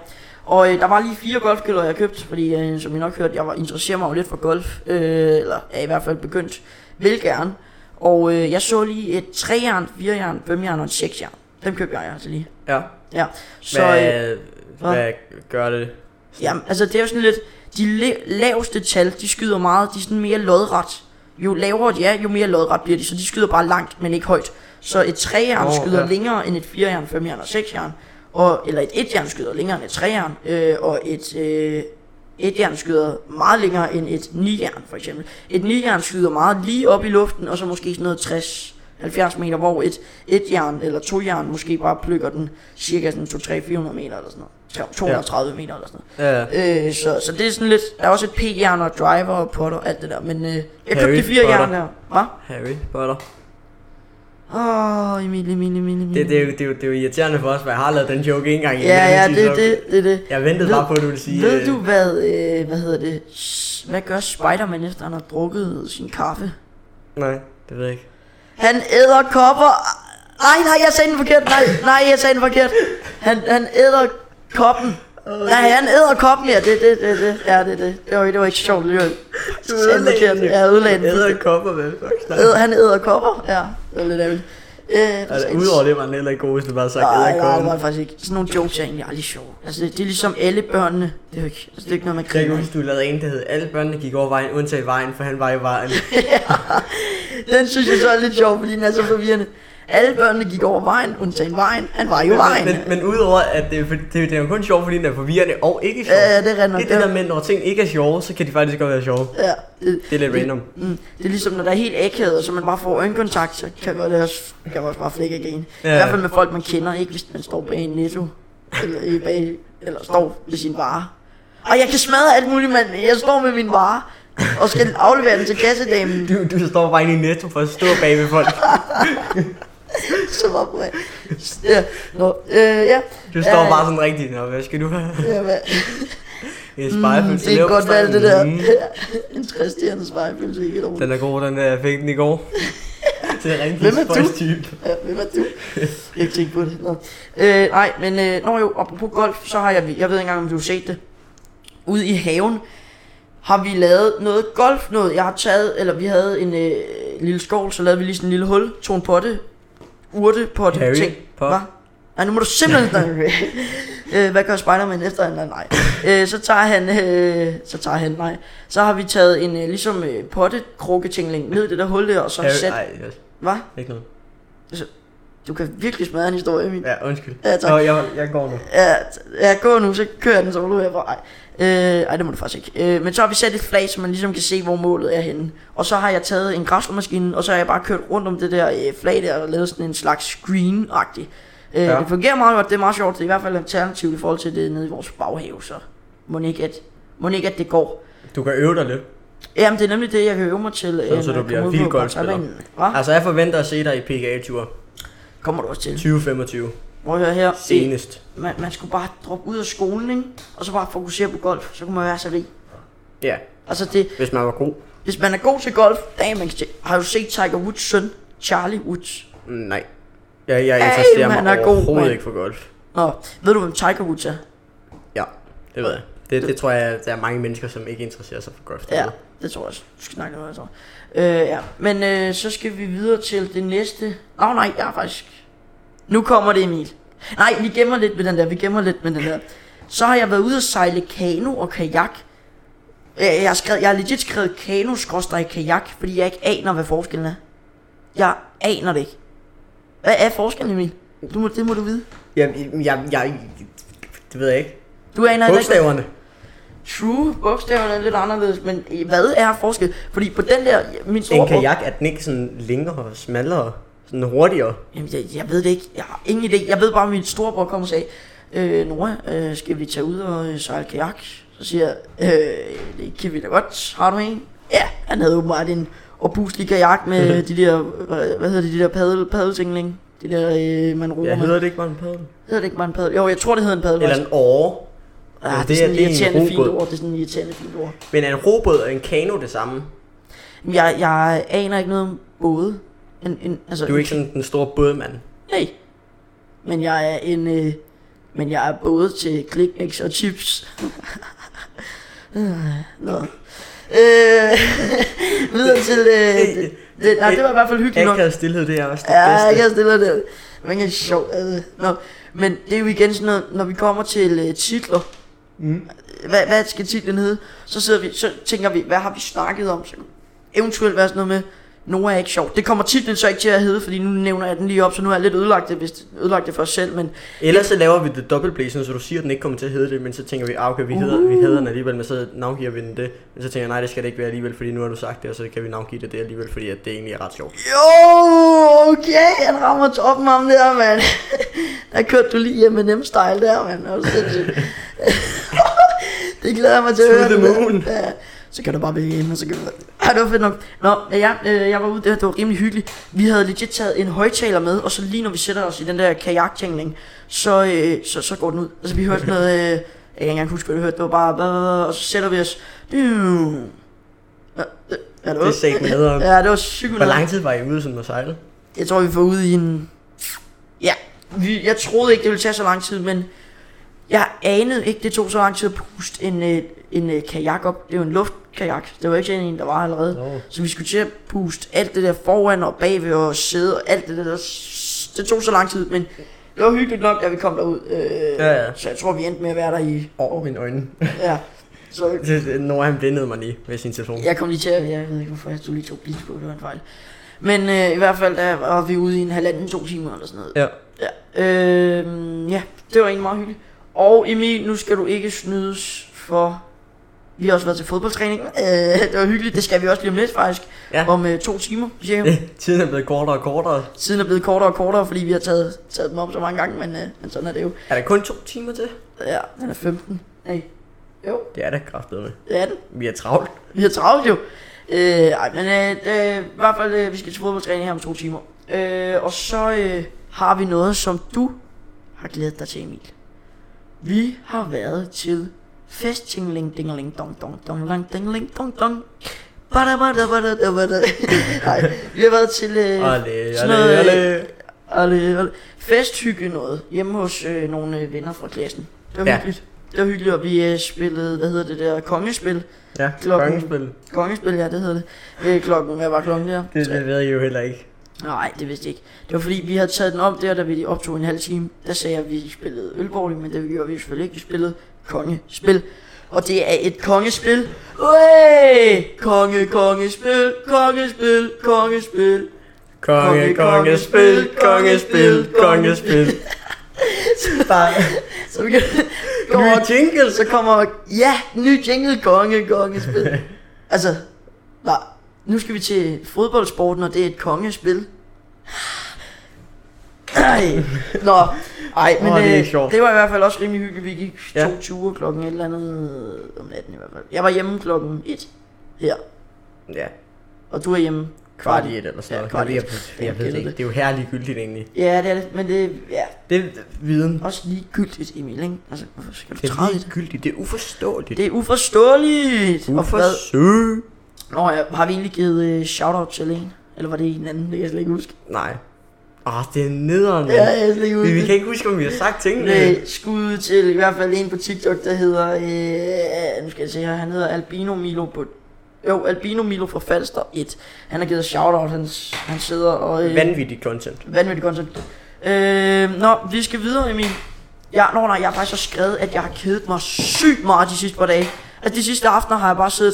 Speaker 1: Og øh, der var lige fire golfkøller, jeg købte, fordi øh, som I nok hørte, jeg var interesseret mig jo lidt for golf. Øh, eller er i hvert fald begyndt. Vil gerne. Og øh, jeg så lige et 3-jern, 4-jern, 5-jern og et 6-jern. Dem købte jeg altså lige.
Speaker 2: ja.
Speaker 1: Ja. Så, øh,
Speaker 2: Hvad,
Speaker 1: hvad?
Speaker 2: hvad gør det?
Speaker 1: Jamen, altså det er jo sådan lidt, de la- laveste tal, de skyder meget, de er sådan mere lodret. Jo lavere de er, jo mere lodret bliver de, så de skyder bare langt, men ikke højt. Så et 3-jern
Speaker 2: Åh,
Speaker 1: oh, skyder ja.
Speaker 2: ja.
Speaker 1: længere end et 4-jern, 5-jern og 6-jern. Og, eller et 1-jern skyder længere end et 3-jern, øh, og et, øh, et jern skyder meget længere end et 9-jern for eksempel. Et 9-jern skyder meget lige op i luften, og så måske sådan noget 60 70 meter, hvor et, et jern eller to jern måske bare plukker den cirka sådan 2 3 400 meter eller sådan noget. 230 meter eller sådan noget.
Speaker 2: Ja.
Speaker 1: Øh, så, så det er sådan lidt, der er også et p-jern og driver og potter og alt det der, men øh, jeg købte
Speaker 2: Harry
Speaker 1: de fire
Speaker 2: Potter.
Speaker 1: jern der. Hva?
Speaker 2: Harry Potter.
Speaker 1: Åh, oh, Emil, Emil, Emil, Emil.
Speaker 2: Det, det, er jo, det, er jo, det er jo irriterende for os, for jeg har lavet den joke en gang. i
Speaker 1: Ja,
Speaker 2: den
Speaker 1: ja,
Speaker 2: tid,
Speaker 1: det,
Speaker 2: så-
Speaker 1: det, det, det.
Speaker 2: Jeg ventede
Speaker 1: Ved-
Speaker 2: bare på, at du ville sige...
Speaker 1: Ved
Speaker 2: øh,
Speaker 1: du, hvad, øh, hvad hedder det, S- hvad gør Spider-Man efter han har drukket sin kaffe?
Speaker 2: Nej, det ved jeg ikke.
Speaker 1: Han æder kopper. Nej, nej, jeg sagde den forkert. Nej, nej, jeg sagde den forkert. Han, han æder koppen. Nej, han æder koppen, ja, det, det, det, det, ja, det, det. Det var, det var ikke sjovt, det var jeg sagde den forkert. Jeg ødelagde den.
Speaker 2: Æder kopper, hvad fuck snakker
Speaker 1: Æd, han æder kopper, ja. Det var lidt ærgerligt. Øh,
Speaker 2: Altså,
Speaker 1: præcis.
Speaker 2: udover det var den heller ikke god, hvis du bare sagde
Speaker 1: Nej,
Speaker 2: æder
Speaker 1: nej, det var
Speaker 2: kopper.
Speaker 1: det faktisk ikke. Sådan nogle jokes er egentlig aldrig sjove. Altså, det, det er ligesom alle børnene. Det er jo ikke, altså, det er ikke noget, man
Speaker 2: Jeg kan
Speaker 1: griner. af.
Speaker 2: huske, du lavede en, der hed Alle børnene gik over vejen, undtagen vejen, for han var i vejen.
Speaker 1: Den synes jeg så er lidt sjov, fordi den er så forvirrende. Alle børnene gik over vejen, undtagen vejen. Han var jo vejen.
Speaker 2: Men, men udover at det, er for- det, det er jo kun sjovt, fordi den er forvirrende og ikke sjov.
Speaker 1: Ja, ja, det er rigtig nok.
Speaker 2: Det er det der med, når ting ikke er sjove, så kan de faktisk godt være sjove.
Speaker 1: Ja, det,
Speaker 2: Det er lidt random.
Speaker 1: Mm, det er ligesom, når der er helt akavet, og så man bare får øjenkontakt, så kan man, det også, kan man også bare flække igen. Ja.
Speaker 2: Ja.
Speaker 1: I hvert fald med folk, man kender, ikke hvis man står bag en netto, eller, i bag, eller står ved sin vare. Og jeg kan smadre alt muligt, mand. Jeg står med min vare og skal aflevere den til kassedamen.
Speaker 2: Du, du står bare inde i netto for at stå bag ved folk.
Speaker 1: Så var på ja. Nå, øh, ja.
Speaker 2: Du står
Speaker 1: Ja,
Speaker 2: bare sådan rigtigt. Nå, hvad skal du have?
Speaker 1: Ja, hvad?
Speaker 2: En spejlpølse.
Speaker 1: Det er et godt
Speaker 2: leverpostej.
Speaker 1: valg, det der.
Speaker 2: Mm.
Speaker 1: En træstjerne spejlpølse, ikke et ord.
Speaker 2: Den er god, den der. Jeg fik den i går. det er rigtig
Speaker 1: Hvem er du?
Speaker 2: spøjstype.
Speaker 1: Ja, hvem er du? Jeg ikke tænkt på det. Nå. Øh, nej, men øh, når jo, apropos golf, så har jeg, jeg ved ikke engang, om du har set det, ude i haven, har vi lavet noget golf noget. Jeg har taget, eller vi havde en øh, lille skål, så lavede vi lige sådan en lille hul, tog en potte, urte potte
Speaker 2: Harry
Speaker 1: ting.
Speaker 2: Potter.
Speaker 1: Hva? Nej, nu må du simpelthen snakke med. øh, hvad gør Spider-Man efter han? Nej, nej. Øh, så tager han, øh, så tager han, nej. Så har vi taget en øh, ligesom øh, potte krukke tingling ned i det der hul der, og så
Speaker 2: Harry,
Speaker 1: sat,
Speaker 2: ej, yes.
Speaker 1: hvad?
Speaker 2: ikke noget.
Speaker 1: Du kan virkelig smadre en historie, min.
Speaker 2: Ja, undskyld.
Speaker 1: Ja, tak.
Speaker 2: Nå, jeg, jeg går nu.
Speaker 1: Ja, t- ja, gå nu, så kører jeg den, så må du herfra. Ej. Øh, ej, det må du faktisk ikke. Øh, men så har vi sat et flag, så man ligesom kan se, hvor målet er henne. Og så har jeg taget en græsmaskine, og så har jeg bare kørt rundt om det der øh, flag der, og lavet sådan en slags screen-agtig. Øh,
Speaker 2: Ja.
Speaker 1: ja. Det fungerer meget godt, det er meget sjovt. Det er i hvert fald alternativt i forhold til det nede i vores baghave, så må ikke, at, må ikke, at det går.
Speaker 2: Du kan øve dig lidt.
Speaker 1: Jamen, det er nemlig det, jeg kan øve mig til, øh,
Speaker 2: så du
Speaker 1: når jeg
Speaker 2: bliver
Speaker 1: kommer ud
Speaker 2: vild
Speaker 1: på
Speaker 2: golfspiller.
Speaker 1: golfbanen. Hva?
Speaker 2: Altså, jeg forventer at se dig i PGA-tur
Speaker 1: Kommer du også til?
Speaker 2: 2025.
Speaker 1: Prøv at høre her.
Speaker 2: Senest.
Speaker 1: Man, man skulle bare droppe ud af skolen, ikke? Og så bare fokusere på golf, så kunne man være så rig.
Speaker 2: Ja,
Speaker 1: Altså det,
Speaker 2: hvis man var god.
Speaker 1: hvis man er god til golf, damn, man kan se. har du set Tiger Woods søn, Charlie Woods?
Speaker 2: Mm, Nej. Jeg, jeg interesserer
Speaker 1: man
Speaker 2: mig
Speaker 1: er god,
Speaker 2: overhovedet
Speaker 1: mand.
Speaker 2: ikke for golf.
Speaker 1: Nå, ved du, hvem Tiger Woods er?
Speaker 2: Ja, det ved jeg. Det, det tror jeg, der er mange mennesker, som ikke interesserer sig for golf.
Speaker 1: Ja, det tror jeg også. Du skal snakke noget, jeg tror. Øh, ja. Men øh, så skal vi videre til det næste. Åh oh, nej, jeg er faktisk... Nu kommer det, Emil. Nej, vi gemmer lidt med den der, vi gemmer lidt med den der. Så har jeg været ude at sejle kano og kajak. Øh, Jeg har, skrevet, jeg har legit skrevet kano i kajak, fordi jeg ikke aner, hvad forskellen er. Jeg aner det ikke. Hvad er forskellen, Emil? Du må, det må du vide.
Speaker 2: Jamen, jeg, jeg, det ved jeg ikke.
Speaker 1: Du aner heller ikke,
Speaker 2: Bogstaverne.
Speaker 1: True, bogstaverne er lidt anderledes, men øh, hvad er forskel? Fordi på den der, min store
Speaker 2: En kajak, er den ikke sådan længere og smallere? Sådan hurtigere?
Speaker 1: Jamen, jeg, jeg ved det ikke. Jeg har ingen idé. Jeg ved bare, at min storebror kom og sagde, øh, Nora, øh, skal vi tage ud og øh, sejle kajak? Så siger jeg, øh, det kan vi da godt. Har du en? Ja, han havde åbenbart en opuslig kajak med
Speaker 2: Mhm.
Speaker 1: de der, hvad, hvad hedder det, de der paddel, paddeltingling? De der, øh, man roer
Speaker 2: Ja,
Speaker 1: med.
Speaker 2: hedder det ikke bare en paddel?
Speaker 1: Hedder det ikke bare en paddel? Jo, jeg tror, det hedder en paddel.
Speaker 2: Eller en åre.
Speaker 1: ah, det,
Speaker 2: det
Speaker 1: er
Speaker 2: er-
Speaker 1: sådan en
Speaker 2: det er en
Speaker 1: irriterende fint
Speaker 2: robåd.
Speaker 1: ord. Det er sådan en irriterende fint ord.
Speaker 2: Men er en robåd og en kano det samme?
Speaker 1: Men Jeg, jeg aner ikke noget om både. En, en, altså,
Speaker 2: Du er ikke sådan den store bådmand.
Speaker 1: Nej. Men jeg er en... Øh, men jeg er både til klikmix og chips. Øh, Nå. Øh, videre til... Øh, det, det, nej, det var i hvert fald hyggeligt nok.
Speaker 2: Akavet stillhed, det er også det
Speaker 1: Ja,
Speaker 2: bedste.
Speaker 1: jeg kan stille det. Men det er sjovt. Altså. Nå. Men det er jo igen sådan noget, når vi kommer til øh, titler. Mm. Hvad, hvad skal titlen hedde? Så sidder vi, så tænker vi, hvad har vi snakket om? Så kunne eventuelt være sådan noget med, Nora er ikke sjov. Det kommer titlen så ikke til at hedde, fordi nu nævner jeg den lige op, så nu har jeg lidt ødelagt det, hvis det, ødelagt det for os selv. Men
Speaker 2: Ellers så laver vi det dobbeltplay, sådan, så du siger, at den ikke kommer til at hedde det, men så tænker vi, ah, okay, vi hedder,
Speaker 1: Uh.
Speaker 2: vi hedder den alligevel, men så navngiver vi den det. Men så tænker jeg, nej, det skal det ikke være alligevel, fordi nu har du sagt det, og så kan vi navngive det det alligevel, fordi at det egentlig er ret sjovt.
Speaker 1: jo, okay, han rammer toppen ham der, mand. Der kørte du lige hjem med nem style der, mand. Det var sindssygt. det glæder jeg mig til at høre.
Speaker 2: To the
Speaker 1: det der.
Speaker 2: moon.
Speaker 1: Ja, så kan du bare vælge ind, og så kan du... Ja, det var fedt nok. Nå, ja, øh, jeg var ude der, det var rimelig hyggeligt. Vi havde legit taget en højtaler med, og så lige når vi sætter os i den der kajaktænkning, så, øh, så, så går den ud. Altså vi hørte sådan noget, øh, jeg kan ikke engang huske, hvad vi hørte, det var bare, "Hvad?" og så sætter vi os. Ja, det, ja, det, var,
Speaker 2: Det sagde den hedder.
Speaker 1: ja, det var sygt.
Speaker 2: Hvor lang tid var I ude sådan at sejle?
Speaker 1: Jeg tror, vi får ude i en... Ja, vi, jeg troede ikke, det ville tage så lang tid, men jeg anede ikke, det tog så lang tid at puste en, øh, en øh, kajak op. Det er jo en luftkajak. Det var ikke sådan en, der var allerede.
Speaker 2: Nå.
Speaker 1: Så vi skulle til at puste alt det der foran og bagved og sæde og alt det der. Det tog så lang tid, men det var hyggeligt nok, da vi kom derud. Øh,
Speaker 2: Ja, ja.
Speaker 1: Så jeg tror, vi endte med at være der i...
Speaker 2: Over mine øjne.
Speaker 1: Ja. Så
Speaker 2: Når han blændede mig lige med sin telefon.
Speaker 1: jeg kom lige til at, jeg ved ikke hvorfor, jeg tog lige to biler på, det var en fejl. Men øh, i hvert fald der var vi ude i en halvanden, to timer eller sådan noget.
Speaker 2: Ja.
Speaker 1: Ja, øh, ja, det var egentlig meget hyggeligt. Og Emil, nu skal du ikke snydes for... Vi har også været til fodboldtræning. Øh, det var hyggeligt, det skal vi også lige om lidt faktisk.
Speaker 2: Ja.
Speaker 1: Om øh, to timer, cirka.
Speaker 2: Tiden er blevet kortere og kortere.
Speaker 1: Tiden er blevet kortere og kortere, fordi vi har taget, taget dem op så mange gange, men, øh, men sådan er det jo.
Speaker 2: Er der kun to timer til?
Speaker 1: Ja, den er 15. Nej. Jo,
Speaker 2: Det er da kraftet med.
Speaker 1: det er den.
Speaker 2: Vi er travlt.
Speaker 1: Vi har travlt jo. Øh, ej, men øh, øh, i hvert fald, øh, vi skal til fodboldtræning her om to timer. Øh, og så øh, har vi noget, som du har glædet dig til, Emil. Vi har været til fest tingling dingeling dong dong dong lang dingeling dong dong. Bada bada bada da bada. Nej, vi har været til øh,
Speaker 2: Alle,
Speaker 1: sådan
Speaker 2: alle,
Speaker 1: noget, øh,
Speaker 2: alle.
Speaker 1: alle, alle. Festhygge noget hjemme hos øh, nogle øh, venner fra klassen. Det var
Speaker 2: Ja.
Speaker 1: ja. hyggeligt. Det var hyggeligt, og vi øh, spillede, hvad hedder det der, kongespil.
Speaker 2: Ja,
Speaker 1: klokken-
Speaker 2: kongespil.
Speaker 1: Kongespil, ja, det hedder det. Øh, klokken, hvad var klokken der?
Speaker 2: Det, det ved jeg jo heller ikke.
Speaker 1: Nej, det vidste jeg ikke. Det var fordi, vi havde taget den om der, da vi optog en halv time. Der sagde jeg, at vi spillede ølbowling, men det gjorde vi selvfølgelig ikke. Vi spillede kongespil. Og det er et kongespil. Øj! Konge, kongespil, kongespil, kongespil.
Speaker 2: Konge, kongespil, kongespil, kongespil. Bare
Speaker 1: Så vi kan gå
Speaker 2: nye
Speaker 1: over til,
Speaker 2: jingles.
Speaker 1: så kommer... Ja, ny jingle, konge, kongespil. Altså, nej. Nu skal vi til fodboldsporten, og det er et kongespil. Ej. Nå, ej, men
Speaker 2: Åh, det er
Speaker 1: det, øh,
Speaker 2: sjovt.
Speaker 1: det var i hvert fald også rimelig hyggeligt. Vi gik ja.
Speaker 2: Ja.
Speaker 1: to ture klokken et eller andet om natten i hvert fald. Jeg var hjemme klokken et her,
Speaker 2: Ja,
Speaker 1: og du er hjemme
Speaker 2: kvart i et eller sådan
Speaker 1: Ja,
Speaker 2: noget.
Speaker 1: kvart i
Speaker 2: Jeg,
Speaker 1: et.
Speaker 2: jeg, jeg ved det ikke. Det er jo herlig gyldigt egentlig.
Speaker 1: Ja, det er det, men det er ja,
Speaker 2: Det er viden.
Speaker 1: også ligegyldigt, Emil, ikke? Altså, hvorfor skal du
Speaker 2: Det
Speaker 1: træde
Speaker 2: er
Speaker 1: i det?
Speaker 2: ligegyldigt. Det er uforståeligt.
Speaker 1: Det er uforståeligt! Og hvad-
Speaker 2: Uforståeligt.
Speaker 1: Nå, ja, har vi egentlig givet øh, shout-out til en? Eller var det en anden? Det kan jeg slet ikke huske.
Speaker 2: Nej. Åh, det er nederen, mand.
Speaker 1: Ja, jeg kan slet ikke
Speaker 2: Vi,
Speaker 1: huske.
Speaker 2: vi
Speaker 1: det.
Speaker 2: kan ikke huske, om vi har sagt tingene.
Speaker 1: Øh, skud til i hvert fald en på TikTok, der hedder, øh, nu skal jeg se her, han hedder Albino Milo på, jo, Albino Milo fra Falster 1. Han har givet shoutout, han, han sidder og, øh,
Speaker 2: Vanvittigt content.
Speaker 1: vanvittigt content. Øh, nå, vi skal videre, Emil. Ja, nå, nej, jeg har faktisk også skrevet, at jeg har kedet mig sygt meget de sidste par dage. Altså, de sidste aftener har jeg bare siddet,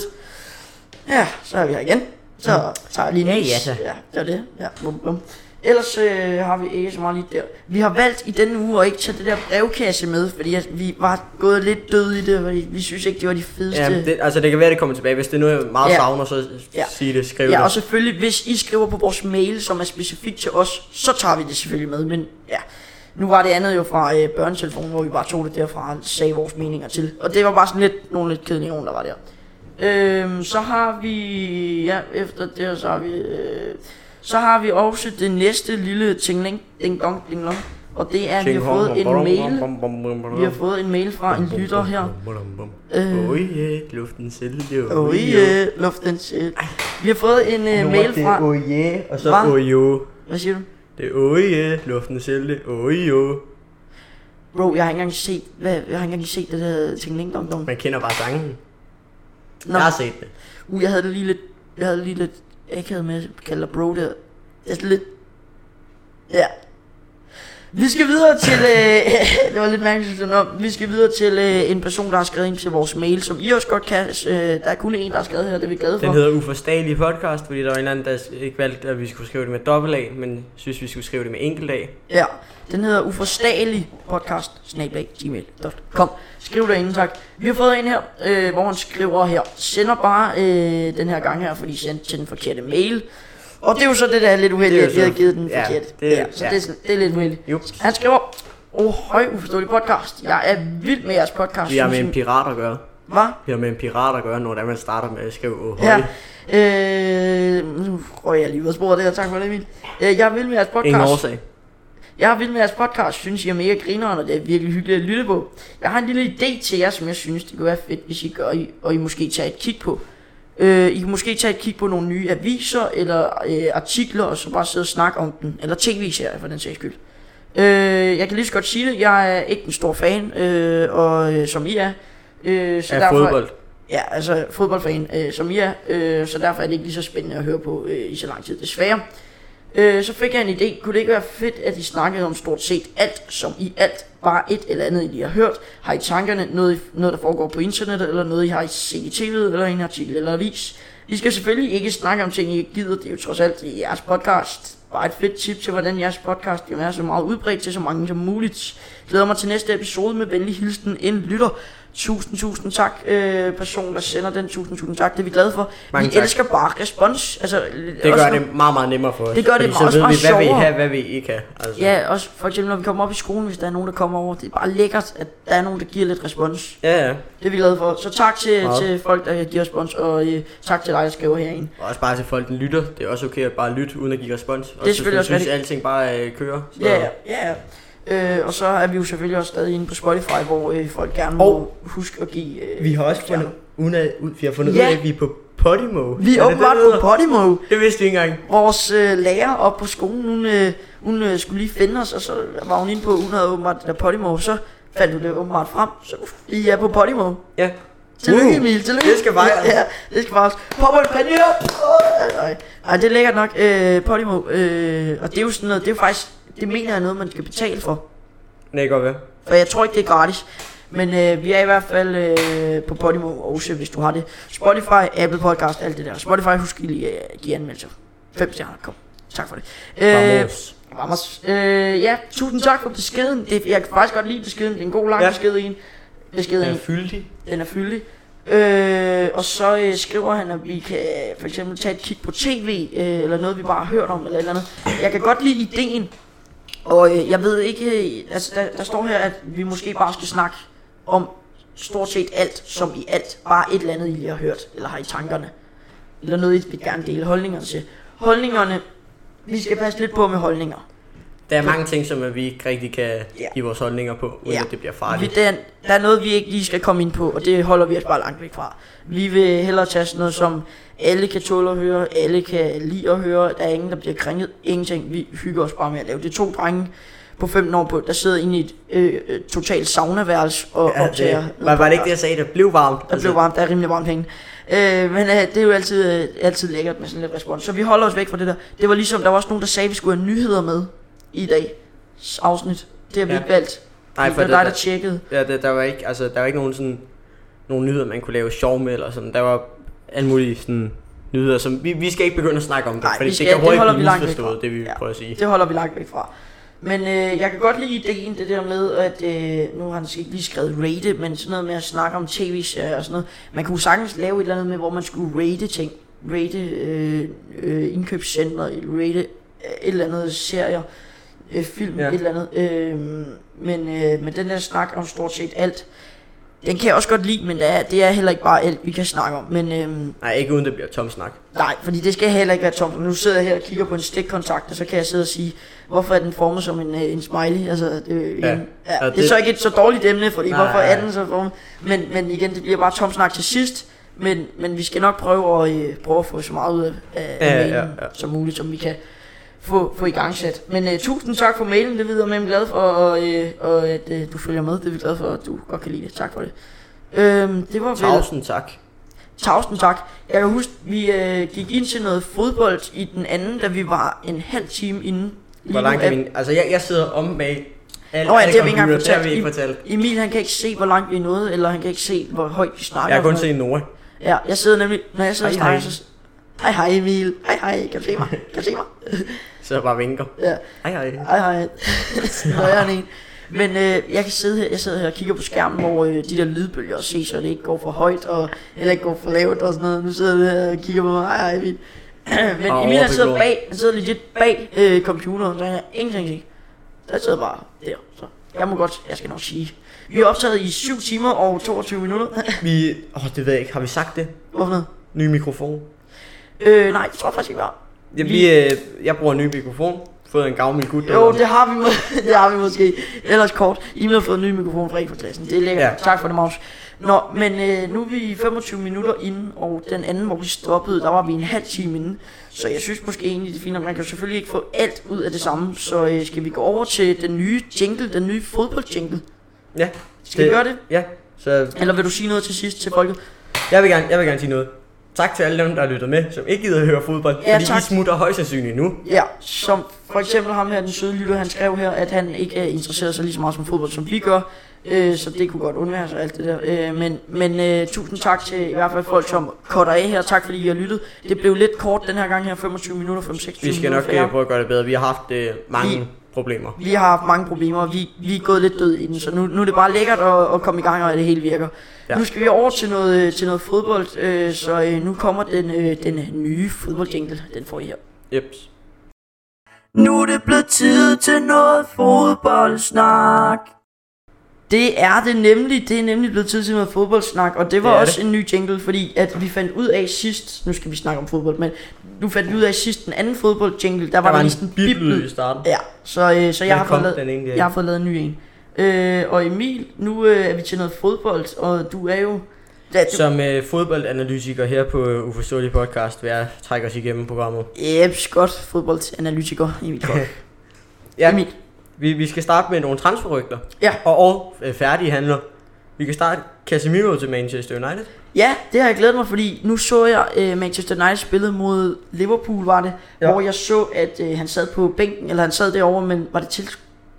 Speaker 1: ja, så er vi her igen. Så tager jeg lige en
Speaker 2: Ja,
Speaker 1: is.
Speaker 2: ja, så.
Speaker 1: Ja, det er det. Ja, bum, bum. Ellers øh, har vi ikke så meget lige der. Vi har valgt i denne uge at ikke tage det der brevkasse med, fordi at vi var gået lidt døde i det, fordi vi synes ikke, det var de fedeste.
Speaker 2: Ja, det, altså det kan være, det kommer tilbage. Hvis det er noget, jeg meget
Speaker 1: Ja.
Speaker 2: savner, så
Speaker 1: Ja.
Speaker 2: sig det, skriv
Speaker 1: Ja, og
Speaker 2: det.
Speaker 1: selvfølgelig, hvis I skriver på vores mail, som er specifikt til os, så tager vi det selvfølgelig med, men ja. Nu var det andet jo fra øh, børnetelefonen, hvor vi bare tog det derfra og sagde vores meninger til. Og det var bare sådan lidt, nogle lidt kedelige nogen, der var der. Øhm, så har vi, ja, efter det, her, så har vi, øh, så har vi også det næste lille tingling, ding dong, ding dong. Og det er, at vi har fået en mail, vi har fået en mail fra en lytter her. Øh.
Speaker 2: Oj, yeah, luften selv, det er
Speaker 1: Oh yeah, luften shit. Vi har fået en øh, mail fra,
Speaker 2: Oh yeah, og så
Speaker 1: Hva?
Speaker 2: oh jo.
Speaker 1: hvad siger du?
Speaker 2: Det er oh yeah, luften selv, det er oh jo.
Speaker 1: Bro, jeg har ikke engang set, hvad, jeg har ikke engang set det der ting Ling Dong Dong.
Speaker 2: Man kender bare sangen.
Speaker 1: Nå,
Speaker 2: Jeg har set det.
Speaker 1: uh, jeg havde det lige lidt, jeg havde det lige lidt akavet med at kalde dig bro der. Det er sådan lidt, ja. Vi skal videre til, øh, det var lidt mærkeligt, sådan om. vi skal videre til øh, en person, der har skrevet ind til vores mail, som I også godt kan, øh, der er kun en, der har skrevet her, det er vi glade for.
Speaker 2: Den hedder Uforståelig podcast, fordi der var en eller anden, der ikke valgte, at vi skulle skrive det med dobbelt A, men synes, vi skulle skrive det med enkelt A.
Speaker 1: Ja, den hedder uforståelig podcast, snablag, gmail.com. Skriv derinde, tak. Vi har fået en her, øh, hvor han skriver her, sender bare øh, den her gang her, fordi I sendte til den forkerte mail. Og det er jo så det, der er lidt uheldigt,
Speaker 2: Det er jo
Speaker 1: at vi har
Speaker 2: så-
Speaker 1: givet den
Speaker 2: ja,
Speaker 1: forkert.
Speaker 2: det-
Speaker 1: ja, så
Speaker 2: ja.
Speaker 1: det, er, sådan- det er lidt uheldigt.
Speaker 2: Jups.
Speaker 1: Han skriver, åh, høj uforståelig podcast. Jeg er vild med jeres podcast.
Speaker 2: Vi har med en
Speaker 1: synes I-
Speaker 2: pirat at gøre.
Speaker 1: Hvad?
Speaker 2: Vi har med en pirat at gøre, når det er, man starter med at skrive oh,
Speaker 1: Ja. Øh, nu røg jeg lige ud af sporet der, tak for det, Emil. Øh, Jeg er vild med jeres podcast.
Speaker 2: Ingen årsag.
Speaker 1: Jeg er vild med jeres podcast, synes I er mega grineren, og det er virkelig hyggeligt at lytte på. Jeg har en lille idé til jer, som jeg synes, det kunne være fedt, hvis I gør, og I, og I måske tager et kig på. Øh, I kan måske tage et kig på nogle nye aviser eller øh, artikler, og så bare sidde og snakke om den. Eller tv-serier, for den sags skyld. Øh, jeg kan lige så godt sige det, jeg er ikke en stor fan, øh, og øh, som I er. Øh, så
Speaker 2: Af
Speaker 1: derfor,
Speaker 2: fodbold.
Speaker 1: Ja, altså fodboldfan, øh, som I er, øh, så derfor er det ikke lige så spændende at høre på øh, i så lang tid, desværre. Øh, så fik jeg en idé. Kunne det ikke være fedt, at I snakkede om stort set alt, som i alt, bare et eller andet, I lige har hørt? Har I tankerne noget, noget der foregår på internettet, eller noget, I har I set i tv, eller i en artikel eller avis? I skal selvfølgelig ikke snakke om ting, I ikke gider. Det er jo trods alt i jeres podcast. Bare et fedt tip til, hvordan jeres podcast kan være så meget udbredt til så mange som muligt. Glæder mig til næste episode med venlig hilsen en lytter. Tusind, tusind tak, øh, person, der sender den. Tusind, tusind tak. Det er vi glade for.
Speaker 2: Mange
Speaker 1: vi
Speaker 2: tak.
Speaker 1: elsker bare respons. Altså,
Speaker 2: Det
Speaker 1: også
Speaker 2: gør
Speaker 1: når-
Speaker 2: det meget, meget nemmere for os.
Speaker 1: Det gør det
Speaker 2: fordi så
Speaker 1: også
Speaker 2: ved
Speaker 1: meget
Speaker 2: vi, hvad vi
Speaker 1: sjovere.
Speaker 2: kan, hvad vi ikke kan. Altså.
Speaker 1: Ja, også for eksempel, når vi kommer op i skolen, hvis der er nogen, der kommer over. Det er bare lækkert, at der er nogen, der giver lidt respons.
Speaker 2: Ja, ja.
Speaker 1: Det er vi glade for. Så tak til,
Speaker 2: Meget.
Speaker 1: til folk, der giver respons, og øh, tak til dig, der skriver herinde.
Speaker 2: Og også bare til folk, der lytter. Det er også okay at bare lytte, uden at give respons. Det
Speaker 1: selvfølgelig også
Speaker 2: synes,
Speaker 1: rigtigt.
Speaker 2: alting bare øh, kører. Så.
Speaker 1: Ja, ja. ja. Øh, og så er vi jo selvfølgelig også stadig inde på Spotify, hvor øh, folk gerne må
Speaker 2: Og-
Speaker 1: huske at give... Øh,
Speaker 2: Vi har også fundet, uden at, ud, vi har fundet
Speaker 1: Ja.
Speaker 2: ud af, at vi er på Podimo.
Speaker 1: vi er
Speaker 2: det
Speaker 1: åbenbart
Speaker 2: det, det,
Speaker 1: på Podimo.
Speaker 2: det vidste vi ikke engang.
Speaker 1: Vores øh, lærer op på skolen, hun, øh, hun øh, skulle lige finde os, og så var hun inde på, hun havde åbenbart det der Podimo, så fandt hun det åbenbart frem. Så vi er på Podimo.
Speaker 2: Ja.
Speaker 1: Tillykke
Speaker 2: Uh,
Speaker 1: Emil, tillykke.
Speaker 2: det skal fejres.
Speaker 1: Ja, det skal fejres. Pop en panje. Åh, Nej, Ej, det er lækkert nok. Øh, Podimo. Øh, og det er jo sådan noget, det er jo faktisk, det mener jeg er noget, man skal betale for.
Speaker 2: Det kan godt være.
Speaker 1: For jeg tror ikke, det er gratis. Men øh, vi er i hvert fald øh, på Podimo også, hvis du har det. Spotify, Apple Podcast, alt det der. Spotify, husk lige at øh, give anmeldelser. Fem stjerner, kom. Tak for det. Øh,
Speaker 2: Vamos.
Speaker 1: Vamos. Øh, ja, tusind tak for beskeden. Det, jeg kan faktisk godt lide beskeden. Det er en god lang ja.
Speaker 2: Ja.
Speaker 1: besked i en. Besked i
Speaker 2: Den
Speaker 1: en.
Speaker 2: er fyldig.
Speaker 1: Den er fyldig. Øh, og så øh, skriver han, at vi kan øh, for eksempel tage et kig på tv, øh, eller noget, vi bare har hørt om, eller et eller andet. Jeg kan godt lide ideen, og øh, jeg ved ikke, øh, altså der, der står her, at vi måske bare skal snakke om stort set alt, som i alt, bare et eller andet, I lige har hørt, eller har i tankerne. Eller noget, I vil gerne dele holdningerne til. Holdningerne, vi skal passe lidt på med holdninger.
Speaker 2: Der er mange ting, som øh, vi ikke rigtig kan
Speaker 1: Ja.
Speaker 2: give vores holdninger på, uden
Speaker 1: Ja.
Speaker 2: at det bliver
Speaker 1: Vi,
Speaker 2: farligt.
Speaker 1: der, der er noget, vi ikke lige skal komme ind på, og det holder vi os bare langt væk fra. Vi vil hellere tage sådan noget, som alle kan tåle at høre, alle kan lide at høre, der er ingen, der bliver krænket, ingenting. Vi hygger os bare med at lave det. Er to drenge på 15 år, på, der sidder inde i et øh, øh, totalt saunaværelse og ja,
Speaker 2: Ja,
Speaker 1: optager.
Speaker 2: det, var, var det ikke det, jeg sagde? Det blev varmt. Altså,
Speaker 1: Der blev varmt, der er rimelig varmt penge. Øh, men øh, det er jo altid, øh, altid lækkert med sådan lidt respons. Så vi holder os væk fra det der. Det var ligesom, der var også nogen, der sagde, at vi skulle have nyheder med i dag. Afsnit. Det har vi
Speaker 2: Ja.
Speaker 1: ikke valgt.
Speaker 2: Nej,
Speaker 1: det
Speaker 2: for
Speaker 1: var
Speaker 2: det,
Speaker 1: dig, der
Speaker 2: der,
Speaker 1: tjekkede.
Speaker 2: ja, der, der, var ikke, altså, der var ikke nogen, sådan, nogen nyheder, man kunne lave sjov med, eller sådan. Der var alle mulige sådan, nyheder, som vi, vi skal ikke begynde at snakke om det,
Speaker 1: Nej,
Speaker 2: fordi
Speaker 1: vi skal-
Speaker 2: det kan
Speaker 1: det holder
Speaker 2: hurtigt
Speaker 1: vi
Speaker 2: blive
Speaker 1: langt væk
Speaker 2: misforstået,
Speaker 1: fra.
Speaker 2: det vi
Speaker 1: Ja.
Speaker 2: prøver at sige.
Speaker 1: Det holder vi langt væk fra. Men øh, jeg kan godt lide ideen, det der med, at øh, nu har han ikke lige skrevet rate, men sådan noget med at snakke om tv-serier og sådan noget. Man kunne sagtens lave et eller andet med, hvor man skulle rate ting. Rate øh, øh, indkøbscenter, rate øh, et eller andet serier, øh, film, ja.
Speaker 2: Ja.
Speaker 1: et eller andet. Øh, men, øh, men den der snak om stort set alt, den kan jeg også godt lide, men det er, det er heller ikke bare alt, vi kan snakke om. Men øh,
Speaker 2: Nej, ikke uden det bliver tom snak.
Speaker 1: Nej, fordi det skal heller ikke være tomt. Nu sidder jeg her og kigger på en stikkontakt, og så kan jeg sidde og sige, hvorfor er den formet som en, øh, en smiley? Altså, det, ja.
Speaker 2: Ja.
Speaker 1: En, ja, det, det
Speaker 2: Og
Speaker 1: er
Speaker 2: det-
Speaker 1: så ikke et så dårligt emne, fordi
Speaker 2: Nej,
Speaker 1: hvorfor er
Speaker 2: nej.
Speaker 1: den så formet? Men, men igen, det bliver bare tom snak til sidst. Men, men vi skal nok prøve at, øh, prøve at få så meget ud af, af
Speaker 2: Ja,
Speaker 1: ja,
Speaker 2: ja,
Speaker 1: mailen ja,
Speaker 2: ja.
Speaker 1: ja. som muligt, som vi kan få, få i gang sat. Men øh, tusind tak for mailen, det videre med, jeg er glad for, og, øh, og at øh, du følger med. Det er vi glade for, at du godt kan lide det. Tak for det. Øhm, det var vel...
Speaker 2: Tusind tak.
Speaker 1: Tusind tak. Jeg kan huske, vi øh, gik ind til noget fodbold i den anden, da vi var en halv time inde. Lige
Speaker 2: Hvor
Speaker 1: nu
Speaker 2: langt kan
Speaker 1: er-
Speaker 2: vi... Altså, jeg, jeg sidder om bag... Alle,
Speaker 1: Nå ja,
Speaker 2: alle
Speaker 1: det har vi ikke engang
Speaker 2: computere, det
Speaker 1: fortalt.
Speaker 2: har vi ikke fortalt.
Speaker 1: Emil han kan ikke se, hvor langt vi nåede, eller han kan ikke se, hvor højt vi snakker.
Speaker 2: Jeg har kun
Speaker 1: og sådan
Speaker 2: set Nora.
Speaker 1: noget. Ja, jeg sidder nemlig, når jeg sidder og
Speaker 2: Hej,
Speaker 1: snakker, så... Hej hej Emil, hej hej, kan du se mig, kan du se mig?
Speaker 2: Så jeg bare vinker.
Speaker 1: Ja.
Speaker 2: Hej, hej.
Speaker 1: Ej, ej. Nå, jeg er en. Men øh, jeg kan sidde her, jeg sidder her og kigger på skærmen, hvor øh, de der lydbølger ses, så det ikke går for højt, og heller ikke går for lavt og sådan noget. Nu sidder jeg her og kigger på mig, ej, ej, Emil. Men
Speaker 2: Og
Speaker 1: Emil, han sidder
Speaker 2: overbegår.
Speaker 1: bag, han sidder legit bag øh, computeren, så han har ingenting at sige. Der sidder bare der, så jeg må godt, jeg skal nok sige. Vi er optaget i 7 timer og 22 minutter.
Speaker 2: Vi... Åh, det ved jeg ikke. Har vi sagt det?
Speaker 1: Hvorfor noget?
Speaker 2: Ny mikrofon.
Speaker 1: Øh, nej, det tror jeg faktisk ikke, vi har.
Speaker 2: Jeg, vi, øh, jeg bruger en ny mikrofon. Fået en gavmild gut.
Speaker 1: Jo,
Speaker 2: derude.
Speaker 1: det har vi, må- det har vi måske. Ellers kort. I har fået en ny mikrofon fra en fra klassen. Det er lækkert. Ja.
Speaker 2: Ja.
Speaker 1: Tak for det, Magnus. Nå, men øh, nu er vi 25 minutter inde, og den anden, hvor vi stoppede, der var vi en halv time inde. Så jeg synes måske egentlig, det er fint, at man kan selvfølgelig ikke få alt ud af det samme. Så øh, skal vi gå over til den nye jingle, den nye fodboldjingle.
Speaker 2: Ja.
Speaker 1: Skal vi gøre det?
Speaker 2: Ja. Så
Speaker 1: Eller vil du sige noget til sidst til folket?
Speaker 2: jeg vil, gerne, jeg vil gerne sige noget. Tak til alle dem, der har lyttet med, som ikke gider at høre fodbold.
Speaker 1: Ja,
Speaker 2: fordi
Speaker 1: tak.
Speaker 2: I smutter højst sandsynligt nu.
Speaker 1: Ja, som for eksempel ham her, den søde lytter, han skrev her, at han ikke er interesseret sig lige så meget som fodbold, som vi gør. Øh, så det kunne godt undvære sig alt det der. Øh, men men øh, tusind tak til i hvert fald folk, som cutter af her. Tak fordi I har lyttet. Det blev lidt kort den her gang her, 25 minutter, 5-6 minutter.
Speaker 2: Vi skal nok
Speaker 1: for jer.
Speaker 2: øh, prøve at gøre det bedre. Vi har haft øh, mange
Speaker 1: Vi-
Speaker 2: problemer.
Speaker 1: Vi har haft mange problemer, vi, vi er gået lidt død i den, så nu, nu er det bare lækkert at, at komme i gang, og at det hele virker.
Speaker 2: Ja.
Speaker 1: Ja. Nu skal vi over til noget, øh, til noget fodbold, øh, så øh, nu kommer den, øh, den øh, nye fodboldjingle, den får I her.
Speaker 2: Jeps.
Speaker 3: Nu er det blevet tid til noget fodboldsnak.
Speaker 1: Det er det nemlig. Det er nemlig blevet tid til noget fodboldsnak, og det var
Speaker 2: Det er
Speaker 1: det også det.
Speaker 2: det.
Speaker 1: en ny jingle, fordi at vi fandt ud af sidst, nu skal vi snakke om fodbold, men nu fandt vi ud af sidst den anden fodboldjingle, der,
Speaker 2: Der
Speaker 1: var der
Speaker 2: var
Speaker 1: lige sådan
Speaker 2: en
Speaker 1: en
Speaker 2: bibel i
Speaker 1: bibel.
Speaker 2: starten.
Speaker 1: Ja, så, øh, så
Speaker 2: Men
Speaker 1: jeg har,
Speaker 2: kom
Speaker 1: fået
Speaker 2: den
Speaker 1: lavet,
Speaker 2: egentlig af?
Speaker 1: jeg har fået lavet en ny en. Øh, og Emil, nu øh, er vi til noget fodbold, og du er jo... Ja, du,
Speaker 2: Som øh, fodboldanalytiker her på øh, Uforståelig Podcast, vil jeg trække os igennem programmet.
Speaker 1: Jeps, godt fodboldanalytiker, Emil Koch.
Speaker 2: Ja,
Speaker 1: Emil,
Speaker 2: vi, vi skal starte med nogle transferrygter.
Speaker 1: Ja.
Speaker 2: Og, og øh, færdige handler. Vi kan starte Casemiro til Manchester United.
Speaker 1: Ja, det har jeg glædet mig, fordi nu så jeg øh, Manchester United spille mod Liverpool, var det,
Speaker 2: Ja.
Speaker 1: ja. hvor jeg så, at øh, han sad på bænken, eller han sad derovre, men var det til...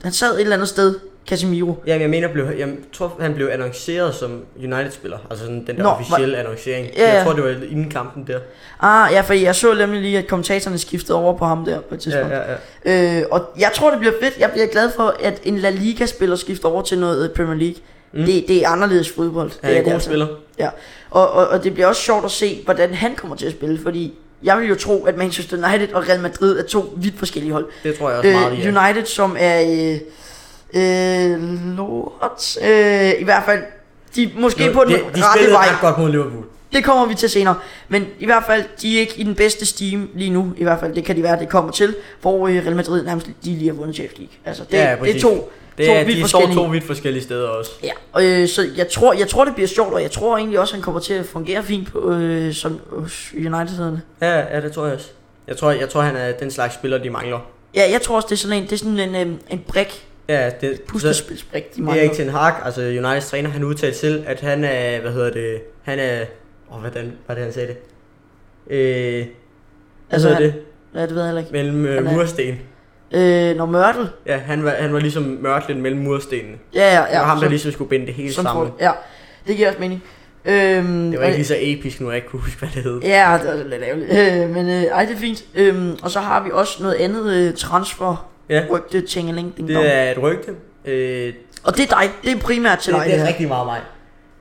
Speaker 1: Han sad et eller andet sted, Casemiro.
Speaker 2: Jamen, jeg mener, blev, jeg tror, han blev annonceret som United-spiller. Altså sådan den der Nå,
Speaker 1: Nå,
Speaker 2: officielle annoncering.
Speaker 1: Ja,
Speaker 2: Jeg
Speaker 1: ja.
Speaker 2: tror, det var inden kampen der.
Speaker 1: Ah, ja, fordi jeg så nemlig lige, at kommentatorerne skiftede over på ham der på et tidspunkt.
Speaker 2: Ja, ja, ja.
Speaker 1: Øh, og jeg tror, det bliver fedt. Jeg bliver glad for, at en La Liga-spiller skifter over til noget øh, Premier League. Mm. Det, det er anderledes fodbold.
Speaker 2: Han er
Speaker 1: det
Speaker 2: en god
Speaker 1: altså.
Speaker 2: spiller.
Speaker 1: Ja, og, og, og det bliver også sjovt at se, hvordan han kommer til at spille, fordi jeg vil jo tro, at Manchester United og Real Madrid er to vidt forskellige hold.
Speaker 2: Det tror jeg også øh, meget,
Speaker 1: Øh,
Speaker 2: i. er.
Speaker 1: United, som er øh, øh, lort, øh, i hvert fald, de er måske på den
Speaker 2: de, de
Speaker 1: rette
Speaker 2: spillede
Speaker 1: vej.
Speaker 2: ret godt mod Liverpool.
Speaker 1: Det kommer vi til senere. Men i hvert fald, de er ikke i den bedste steam lige nu. I hvert fald, det kan de være, det kommer til. Hvor øh, Real Madrid nærmest de lige har vundet Champions League. Altså, det,
Speaker 2: Ja,
Speaker 1: ja, det er
Speaker 2: præcis.
Speaker 1: to,
Speaker 2: Det
Speaker 1: to
Speaker 2: er,
Speaker 1: vidt
Speaker 2: de står
Speaker 1: forskellige.
Speaker 2: to vidt forskellige steder også.
Speaker 1: Ja, og, øh, så jeg tror, jeg tror, det bliver sjovt, og jeg tror egentlig også, han kommer til at fungere fint på, øh, som hos United-hederne.
Speaker 2: Ja, ja, det tror jeg også. Jeg tror, jeg tror han er den slags spiller, de mangler.
Speaker 1: Ja, jeg tror også, det er sådan en, det er sådan en, øh, en brik,
Speaker 2: Ja, det, så,
Speaker 1: puslespilsbrik, de
Speaker 2: det er
Speaker 1: mangler.
Speaker 2: ikke til en hak. Altså, Uniteds træner, han udtalte selv, at han er, hvad hedder det, han er, åh, hvordan var det, han sagde det? Øh, hvad
Speaker 1: Altså,
Speaker 2: hedder
Speaker 1: han-
Speaker 2: det?
Speaker 1: Ja, det ved jeg heller ikke.
Speaker 2: Mellem øh,
Speaker 1: han er-
Speaker 2: mursten.
Speaker 1: Øh, når Mørtel.
Speaker 2: Ja, han var, han var ligesom mørtlen mellem murstenene.
Speaker 1: Ja, ja, ja.
Speaker 2: Ja, og ham, der
Speaker 1: som-
Speaker 2: ligesom skulle binde det hele
Speaker 1: som
Speaker 2: sammen.
Speaker 1: får- Ja, det giver også mening. Øhm,
Speaker 2: Det var ikke lige så episk, nu jeg ikke kunne huske, hvad det hed.
Speaker 1: Ja, det var lidt ærgerligt. Øh, men øh, ej, det er fint. Øhm, og så har vi også noget andet øh, transfer.
Speaker 2: Ja.
Speaker 1: Rygte, tingeling, ding dong.
Speaker 2: Det er et rygte. Øh,
Speaker 1: Og det er dig. Det er primært til
Speaker 2: det,
Speaker 1: dig,
Speaker 2: det
Speaker 1: det,
Speaker 2: er
Speaker 1: her.
Speaker 2: rigtig meget mig.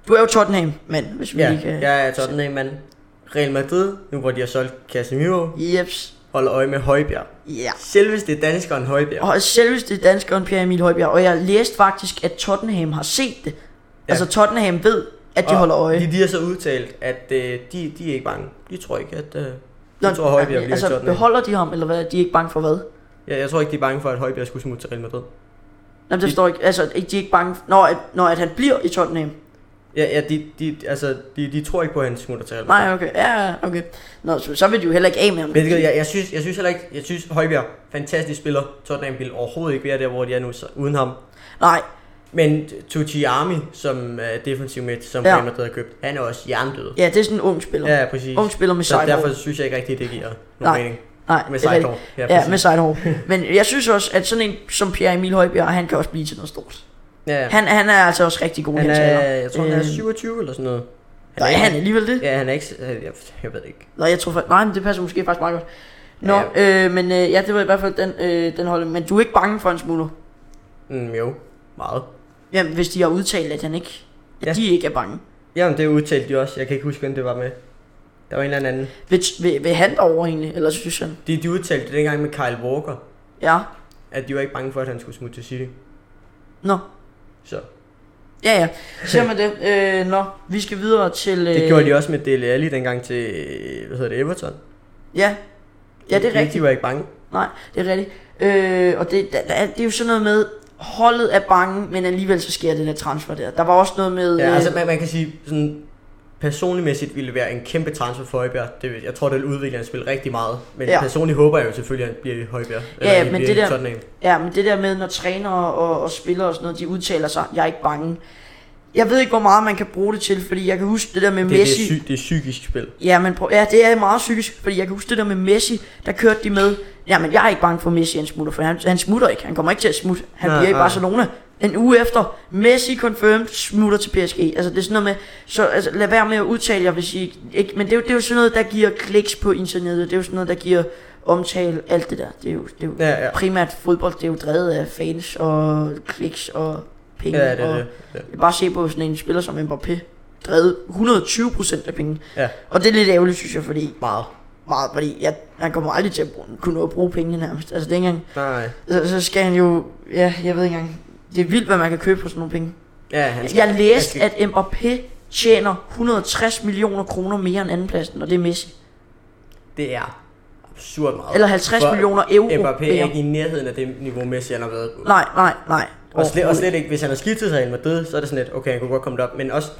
Speaker 1: Du er jo Tottenham, men hvis vi
Speaker 2: Ja,
Speaker 1: lige kan...
Speaker 2: jeg er Tottenham, mand. Real Madrid, nu hvor de har solgt Casemiro,
Speaker 1: Jeps.
Speaker 2: holder øje med Højbjerg.
Speaker 1: Ja.
Speaker 2: Selveste danskeren Højbjerg.
Speaker 1: Og selveste danskeren Pierre Emil Højbjerg. Og jeg læste faktisk, at Tottenham har set det. Ja. Altså Tottenham ved, at de
Speaker 2: Og
Speaker 1: holder øje.
Speaker 2: De, de har så udtalt, at øh, de, de er ikke bange. De tror ikke, at... Øh, de tror, Højbjerg bliver altså,
Speaker 1: altså,
Speaker 2: Tottenham.
Speaker 1: beholder de ham, eller hvad? De er ikke bange for hvad?
Speaker 2: Ja, jeg tror ikke, de er bange for, at Højbjerg skulle smutte til Real Madrid.
Speaker 1: Jamen, det forstår jeg ikke. Altså, de er ikke bange, for, når, at, når at han bliver i Tottenham.
Speaker 2: Ja, ja de, de, altså, de, de tror ikke på, at han smutter til Real Madrid.
Speaker 1: Nej, okay. Ja, ja, okay. Nå, så, så vil de jo heller ikke af med ham.
Speaker 2: Men jeg, jeg, synes, jeg synes heller ikke, jeg synes Højbjerg, fantastisk spiller. Tottenham vil overhovedet ikke være der, hvor de er nu, så, uden ham.
Speaker 1: Nej,
Speaker 2: Men Tucci Army, som er defensiv midt, som
Speaker 1: Ja.
Speaker 2: Real Madrid har købt, han er også jerndød.
Speaker 1: ja, det er sådan en ung spiller.
Speaker 2: Ja, præcis.
Speaker 1: Ung spiller med
Speaker 2: så
Speaker 1: sejt
Speaker 2: derfor
Speaker 1: hår.
Speaker 2: synes jeg ikke rigtigt, det giver nogen
Speaker 1: Nej.
Speaker 2: mening.
Speaker 1: Nej,
Speaker 2: Med
Speaker 1: det er
Speaker 2: sejt hår.
Speaker 1: rigtigt.
Speaker 2: Ja,
Speaker 1: Ja,
Speaker 2: præcis.
Speaker 1: med sejt hår. Men jeg synes også, at sådan en som Pierre Emil Højbjerg, han kan også blive til noget stort.
Speaker 2: Ja, ja.
Speaker 1: Han, han er altså også rigtig god,
Speaker 2: Han
Speaker 1: hans
Speaker 2: er,
Speaker 1: alder.
Speaker 2: jeg tror, han er
Speaker 1: Øh,
Speaker 2: 27 eller sådan noget.
Speaker 1: Nej, han er alligevel det.
Speaker 2: Ja, han er ikke... Jeg, jeg ved det ikke.
Speaker 1: Nå, jeg tror faktisk, nej, men det passer måske faktisk meget godt. Nå, øh, men øh, ja, det var i hvert fald den, øh, den holde. Men du er ikke bange for en smugler?
Speaker 2: Mm, jo, meget.
Speaker 1: Jamen, hvis de har udtalt, at han ikke, at
Speaker 2: Ja.
Speaker 1: de ikke er bange.
Speaker 2: Jamen, det udtalte de også. Jeg kan ikke huske, hvem det var med. Der var en eller anden.
Speaker 1: Vil, vil, vil han derover egentlig, eller synes han?
Speaker 2: De, de udtalte det dengang med Kyle Walker,
Speaker 1: Ja,
Speaker 2: at de var ikke bange for, at han skulle smutte til City.
Speaker 1: nå.
Speaker 2: Så
Speaker 1: Ja, ja. Ser man det? Øh, nå, vi skal videre til... Øh,
Speaker 2: det gjorde de også med Dele Alli dengang til, øh, hvad hedder det, Everton.
Speaker 1: Ja. Ja, det er rigtigt.
Speaker 2: De var ikke bange.
Speaker 1: Nej, det er rigtigt. Øh, og det, der, der, det er jo sådan noget med, holdet er bange, men alligevel så sker det der transfer der. Der var også noget med...
Speaker 2: Ja,
Speaker 1: øh,
Speaker 2: altså man, man kan sige, sådan, personligmæssigt ville det være en kæmpe transfer for Højbjerg. Det, vil- jeg tror, det udvikler hans spil rigtig meget. Men ja.
Speaker 1: Ja.
Speaker 2: personligt håber jeg jo selvfølgelig, at han bliver i Højbjerg.
Speaker 1: Ja,
Speaker 2: han
Speaker 1: men
Speaker 2: bliver
Speaker 1: det
Speaker 2: i
Speaker 1: der-
Speaker 2: Tottenham.
Speaker 1: ja, men det der med, når trænere og, og spillere og sådan noget, de udtaler sig, jeg er ikke bange. Jeg ved ikke, hvor meget man kan bruge det til, fordi jeg kan huske det der med
Speaker 2: Det, det, er,
Speaker 1: Messi.
Speaker 2: sy- det er psykisk spil.
Speaker 1: Ja, men prøv, ja, det er meget psykisk, fordi jeg kan huske det der med Messi, der kørte de med, jamen jeg er ikke bange for at Messi, han smutter, for han, han smutter ikke, han kommer ikke til at smutte, han
Speaker 2: Nej,
Speaker 1: nej, bliver i
Speaker 2: nej.
Speaker 1: Barcelona. En uge efter, Messi confirmed, smutter til PSG. Altså det er sådan noget med, så altså, lad være med at udtale jer, hvis I ikke, men det er, jo, det er jo sådan noget, der giver kliks på internettet, det er jo sådan noget, der giver omtale, alt det der. Det er jo, det er jo
Speaker 2: Ja, ja.
Speaker 1: primært fodbold, det er jo drevet af fans og kliks og penge.
Speaker 2: Ja, det
Speaker 1: og,
Speaker 2: er det. Ja.
Speaker 1: Bare se på sådan en spiller som Mbappé, drevet 120% af penge.
Speaker 2: Ja.
Speaker 1: Og det er lidt ærgerligt, synes jeg, fordi,
Speaker 2: Meget.
Speaker 1: meget, fordi jeg, han kommer aldrig til at bruge, kunne nå at bruge pengene nærmest. Altså det er ikke engang,
Speaker 2: Nej.
Speaker 1: så, så skal han jo, ja, jeg ved ikke engang, det er vildt, hvad man kan købe for sådan nogle penge.
Speaker 2: Ja, han skal,
Speaker 1: Jeg læste,
Speaker 2: han
Speaker 1: at Mbappé tjener 160 millioner kroner mere end andenpladsen, og det er Messi.
Speaker 2: Det er absurd meget.
Speaker 1: Eller 50
Speaker 2: For
Speaker 1: millioner euro
Speaker 2: Mbappé er
Speaker 1: mere.
Speaker 2: ikke i nærheden af det niveau, Messi han har været på.
Speaker 1: Nej, nej, nej.
Speaker 2: Og slet, og slet ikke, hvis han har skiftet sig ind med død, så er det sådan lidt, okay, han kunne godt komme derop. Men også,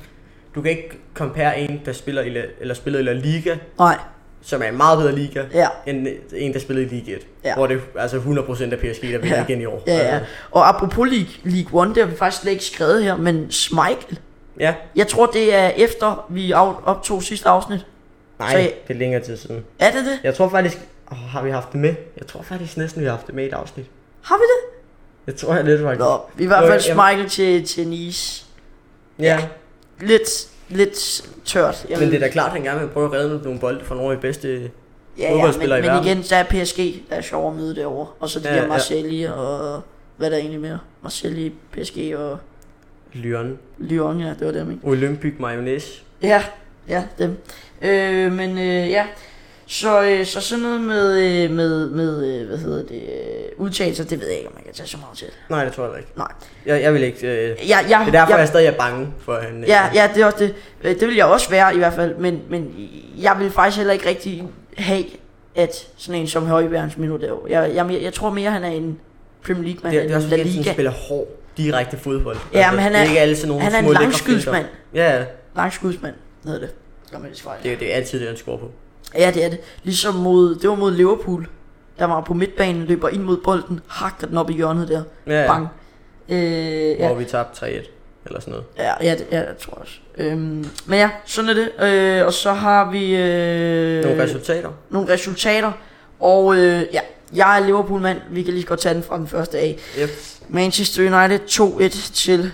Speaker 2: du kan ikke compare en, der spiller i, La- eller spiller i La Liga,
Speaker 1: Nej,
Speaker 2: som er en meget bedre liga,
Speaker 1: Ja.
Speaker 2: end en, der spillede i Liga 1.
Speaker 1: Ja.
Speaker 2: Hvor det er altså 100% af PSG, der vinder
Speaker 1: Ja.
Speaker 2: igen i år.
Speaker 1: ja, ja.
Speaker 2: Altså,
Speaker 1: Og apropos League, League One, det har vi faktisk slet ikke skrevet her, men Schmeichel.
Speaker 2: ja.
Speaker 1: Jeg tror, det er efter, vi af- optog sidste afsnit.
Speaker 2: Nej,
Speaker 1: Så-
Speaker 2: det er længere tid siden.
Speaker 1: Er det det?
Speaker 2: Jeg tror faktisk, oh, har vi haft det med? Jeg tror faktisk næsten, vi har haft det med i et afsnit.
Speaker 1: Har vi det?
Speaker 2: Jeg tror jeg lidt faktisk.
Speaker 1: Nå, i hvert
Speaker 2: Nå,
Speaker 1: fald
Speaker 2: Øh, jamen-
Speaker 1: Schmeichel til, til Nice.
Speaker 2: Ja,
Speaker 1: lidt, lidt tørt. Jeg
Speaker 2: men
Speaker 1: ved-
Speaker 2: det er da klart, at han gerne vil prøve at redde nogle bolde fra nogle af de bedste
Speaker 1: ja, ja, men,
Speaker 2: fodboldspillere i
Speaker 1: men
Speaker 2: verden.
Speaker 1: igen, der er PSG, der er sjov at møde derovre. Og så de
Speaker 2: Ja,
Speaker 1: ja, der
Speaker 2: ja.
Speaker 1: Marseille og hvad der er egentlig mere. Marseille, PSG og
Speaker 2: Lyon,
Speaker 1: Lyon, ja, det var dem, ikke?
Speaker 2: Olympic Mayonnaise.
Speaker 1: Ja, ja, dem. Øh, men øh, ja, så, øh, så sådan noget med, øh, med, med øh, hvad hedder det, øh, udtalelser, det ved jeg ikke, om man kan tage så meget til.
Speaker 2: Nej, det tror jeg heller ikke.
Speaker 1: Nej.
Speaker 2: Jeg, jeg vil ikke... Øh, det
Speaker 1: Jeg, jeg,
Speaker 2: er derfor,
Speaker 1: jeg,
Speaker 2: jeg, jeg stadig er bange for, at han... øh,
Speaker 1: Ja, ja, det er også det. Øh, Det vil jeg også være i hvert fald, men, men jeg vil faktisk heller ikke rigtig have, at sådan en som Højbjerg, han smider derovre. Jeg, jeg, jeg tror mere, han er en Premier League mand
Speaker 2: Det, er- det er
Speaker 1: end
Speaker 2: også
Speaker 1: en La
Speaker 2: fordi, han sådan
Speaker 1: Liga.
Speaker 2: spiller hård, direkte fodbold. Altså,
Speaker 1: Ja, men han
Speaker 2: det
Speaker 1: er-
Speaker 2: ikke alle sådan nogle
Speaker 1: han er en
Speaker 2: små lækre
Speaker 1: langskudsmand.
Speaker 2: finter. Ja, ja.
Speaker 1: Lang skudsmand hedder det. Gør man det svar, ja.
Speaker 2: det, det er altid det, han scorer på.
Speaker 1: ja, det er det. Ligesom mod, det var mod Liverpool, der var på midtbanen, løber ind mod bolden, hakker den op i hjørnet der.
Speaker 2: Ja, ja.
Speaker 1: Bang. Øh,
Speaker 2: Ja.
Speaker 1: ja.
Speaker 2: Hvor vi tabte 3-1 eller sådan noget.
Speaker 1: Ja, ja, det, ja, jeg tror jeg også. Øhm, men ja, sådan er det. Øh, og så har vi... Øh,
Speaker 2: Nogle resultater.
Speaker 1: nogle resultater. Og øh, ja, jeg er Liverpool-mand. Vi kan lige så godt tage den fra den første af.
Speaker 2: Yep.
Speaker 1: Manchester United 2-1 til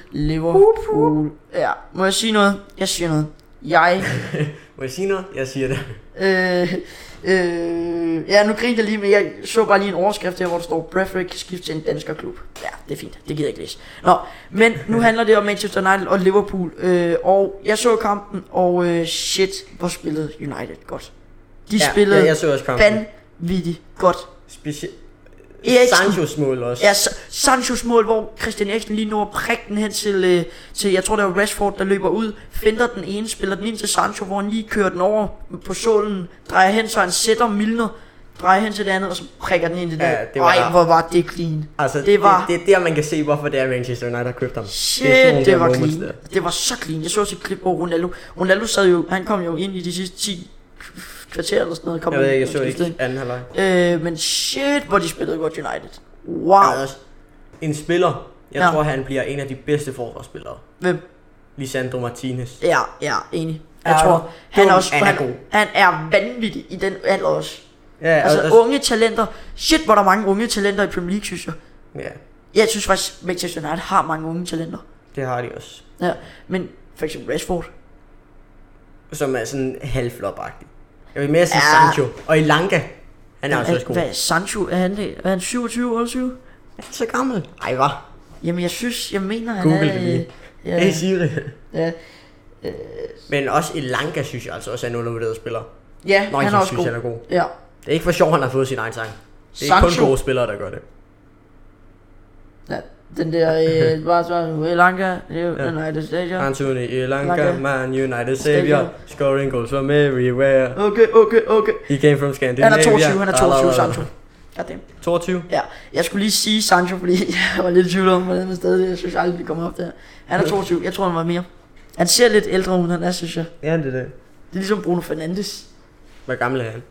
Speaker 1: Liverpool. Ja, må jeg sige noget? Jeg siger noget. Jeg,
Speaker 2: Må jeg sige noget? Jeg siger det.
Speaker 1: øh, øh, ja nu grinte jeg lige, men jeg så bare lige en overskrift her, hvor der står, Bradford kan skifte til en dansker klub. Ja, det er fint, det gider jeg ikke læse. Nå, men nu handler det om Manchester United og Liverpool, øh, og jeg så kampen, og øh, shit, hvor spillede United godt. De ja, spillede
Speaker 2: ja, jeg så også kampen.
Speaker 1: vanvittigt godt.
Speaker 2: Speci-
Speaker 1: Eriksen.
Speaker 2: Sanchos mål også.
Speaker 1: Ja, Sa- Sanchos mål, hvor Christian Eriksen lige når at prikke den hen til, øh, til, jeg tror det var Rashford, der løber ud, finder den ene, spiller den ind til Sancho, hvor han lige kører den over på solen, drejer hen, så han sætter Milner, drejer hen til det andet, og så prikker den ind i det.
Speaker 2: Ja, det var
Speaker 1: Ej,
Speaker 2: der.
Speaker 1: hvor var det clean.
Speaker 2: Altså,
Speaker 1: det var,
Speaker 2: det, det, er der, man kan se, hvorfor det er Manchester United har købt ham.
Speaker 1: shit,
Speaker 2: er sådan nogle
Speaker 1: det, det
Speaker 2: der
Speaker 1: var
Speaker 2: moments
Speaker 1: clean.
Speaker 2: der.
Speaker 1: Det var så clean. Jeg så også et klip over Ronaldo. Ronaldo sad jo, han kom jo ind i de sidste 10 kvarter eller sådan noget. Kom
Speaker 2: Jeg ved
Speaker 1: ind
Speaker 2: ikke, jeg
Speaker 1: og
Speaker 2: så
Speaker 1: skiftede
Speaker 2: ikke anden halvleg.
Speaker 1: ind. Øh, men shit, hvor de spillede godt United. Wow.
Speaker 2: Der er også En spiller, jeg
Speaker 1: Ja.
Speaker 2: tror, han bliver en af de bedste forsvarsspillere.
Speaker 1: Hvem?
Speaker 2: Lisandro Martinez.
Speaker 1: Ja, ja, enig. Jeg
Speaker 2: Er du
Speaker 1: tror, han er,
Speaker 2: dum?
Speaker 1: også,
Speaker 2: Han er
Speaker 1: han,
Speaker 2: god.
Speaker 1: han er vanvittig i den alder også.
Speaker 2: Ja,
Speaker 1: Altså
Speaker 2: og, og,
Speaker 1: unge talenter. Shit, hvor er der mange unge talenter i Premier League, synes jeg.
Speaker 2: ja,
Speaker 1: Jeg synes faktisk, Manchester United har mange unge talenter.
Speaker 2: det har de også.
Speaker 1: Ja, men for eksempel Rashford.
Speaker 2: Som er sådan halvflop-agtig. Jeg vil mere sige
Speaker 1: Ja.
Speaker 2: Sancho. Og Ilanga, han er også også
Speaker 1: Er,
Speaker 2: altså god.
Speaker 1: hvad er Sancho? Er han, er han 27, 28?
Speaker 2: Er han så gammel? Ej, hvad?
Speaker 1: Jamen, jeg synes, jeg mener, han
Speaker 2: Google
Speaker 1: er...
Speaker 2: det lige.
Speaker 1: øh,
Speaker 2: Ja. Hey
Speaker 1: Ja,
Speaker 2: Siri.
Speaker 1: ja,
Speaker 2: Men også Ilanga synes jeg altså også er en undervurderet spiller.
Speaker 1: ja
Speaker 2: Nå,
Speaker 1: han
Speaker 2: jeg
Speaker 1: er også
Speaker 2: synes,
Speaker 1: god.
Speaker 2: han er god.
Speaker 1: Ja.
Speaker 2: Det er ikke for sjovt, han har fået sin egen sang. Det er
Speaker 1: Sancho.
Speaker 2: kun gode spillere, der gør det.
Speaker 1: ja, den der... Øh, bare så... Elanga, United Stadium.
Speaker 2: Anthony Ilanga,
Speaker 1: Ilanga.
Speaker 2: man United savior. Scoring goals from everywhere.
Speaker 1: Okay, okay, okay.
Speaker 2: He came from Scandinavia.
Speaker 1: Han er 22, han er 22, Sancho. Goddamn.
Speaker 2: 22?
Speaker 1: Ja, jeg skulle lige sige Sancho, fordi jeg var lidt i tvivl om, hvordan man stadig Jeg synes aldrig, vi kommer op der. Han er 22, jeg tror, han var mere. Han ser lidt ældre ud, end han er, synes jeg.
Speaker 2: Ja, det er det.
Speaker 1: Det er ligesom Bruno Fernandes.
Speaker 2: Hvor gammel er han?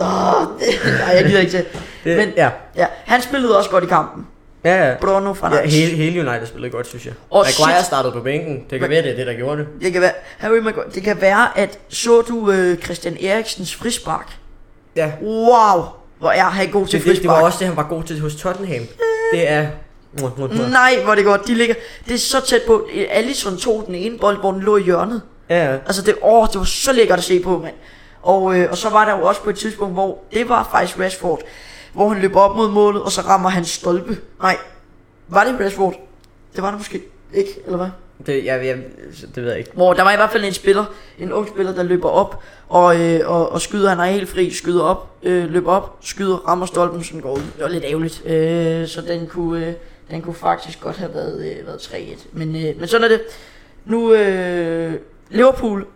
Speaker 1: Åh, oh, nej, jeg gider ikke til.
Speaker 2: Det,
Speaker 1: Men-
Speaker 2: ja,
Speaker 1: Ja, han spillede også godt i kampen.
Speaker 2: Ja, ja.
Speaker 1: Bruno Fernandes.
Speaker 2: Ja, hele, hele United spillede godt, synes jeg.
Speaker 1: Åh,
Speaker 2: Oh, Maguire
Speaker 1: shit.
Speaker 2: startede på bænken. Det
Speaker 1: Men-
Speaker 2: kan være, det er det, der gjorde det.
Speaker 1: Det kan være, Harry Maguire, det kan være, at så du øh, Christian Eriksens frispark.
Speaker 2: Ja.
Speaker 1: Wow, hvor er han god til
Speaker 2: Det, det,
Speaker 1: frispark.
Speaker 2: det var også det, han var god til hos Tottenham. Det er... Mwah, mwah, mwah.
Speaker 1: Nej, hvor er det godt. De ligger, det er så tæt på. Allison tog den ene bold, hvor den lå i hjørnet.
Speaker 2: Ja, ja.
Speaker 1: Altså det, åh, det var så lækkert at se på, mand. Og, øh, og så var der jo også på et tidspunkt, hvor det var faktisk Rashford, hvor han løber op mod målet, og så rammer han stolpe. Nej, var det Rashford? Det var det måske ikke, eller hvad?
Speaker 2: Det, jeg, jeg, det ved jeg ikke.
Speaker 1: Hvor der var i hvert fald en spiller, en ung spiller, der løber op og, øh, og, og skyder. Han er helt fri, skyder op, øh, løber op, skyder, rammer stolpen, sådan går ud. Det var lidt ærgerligt. Øh, så den kunne, øh, den kunne faktisk godt have været, øh, været 3-1. Men, øh, men sådan er det. Nu øh, Liverpool,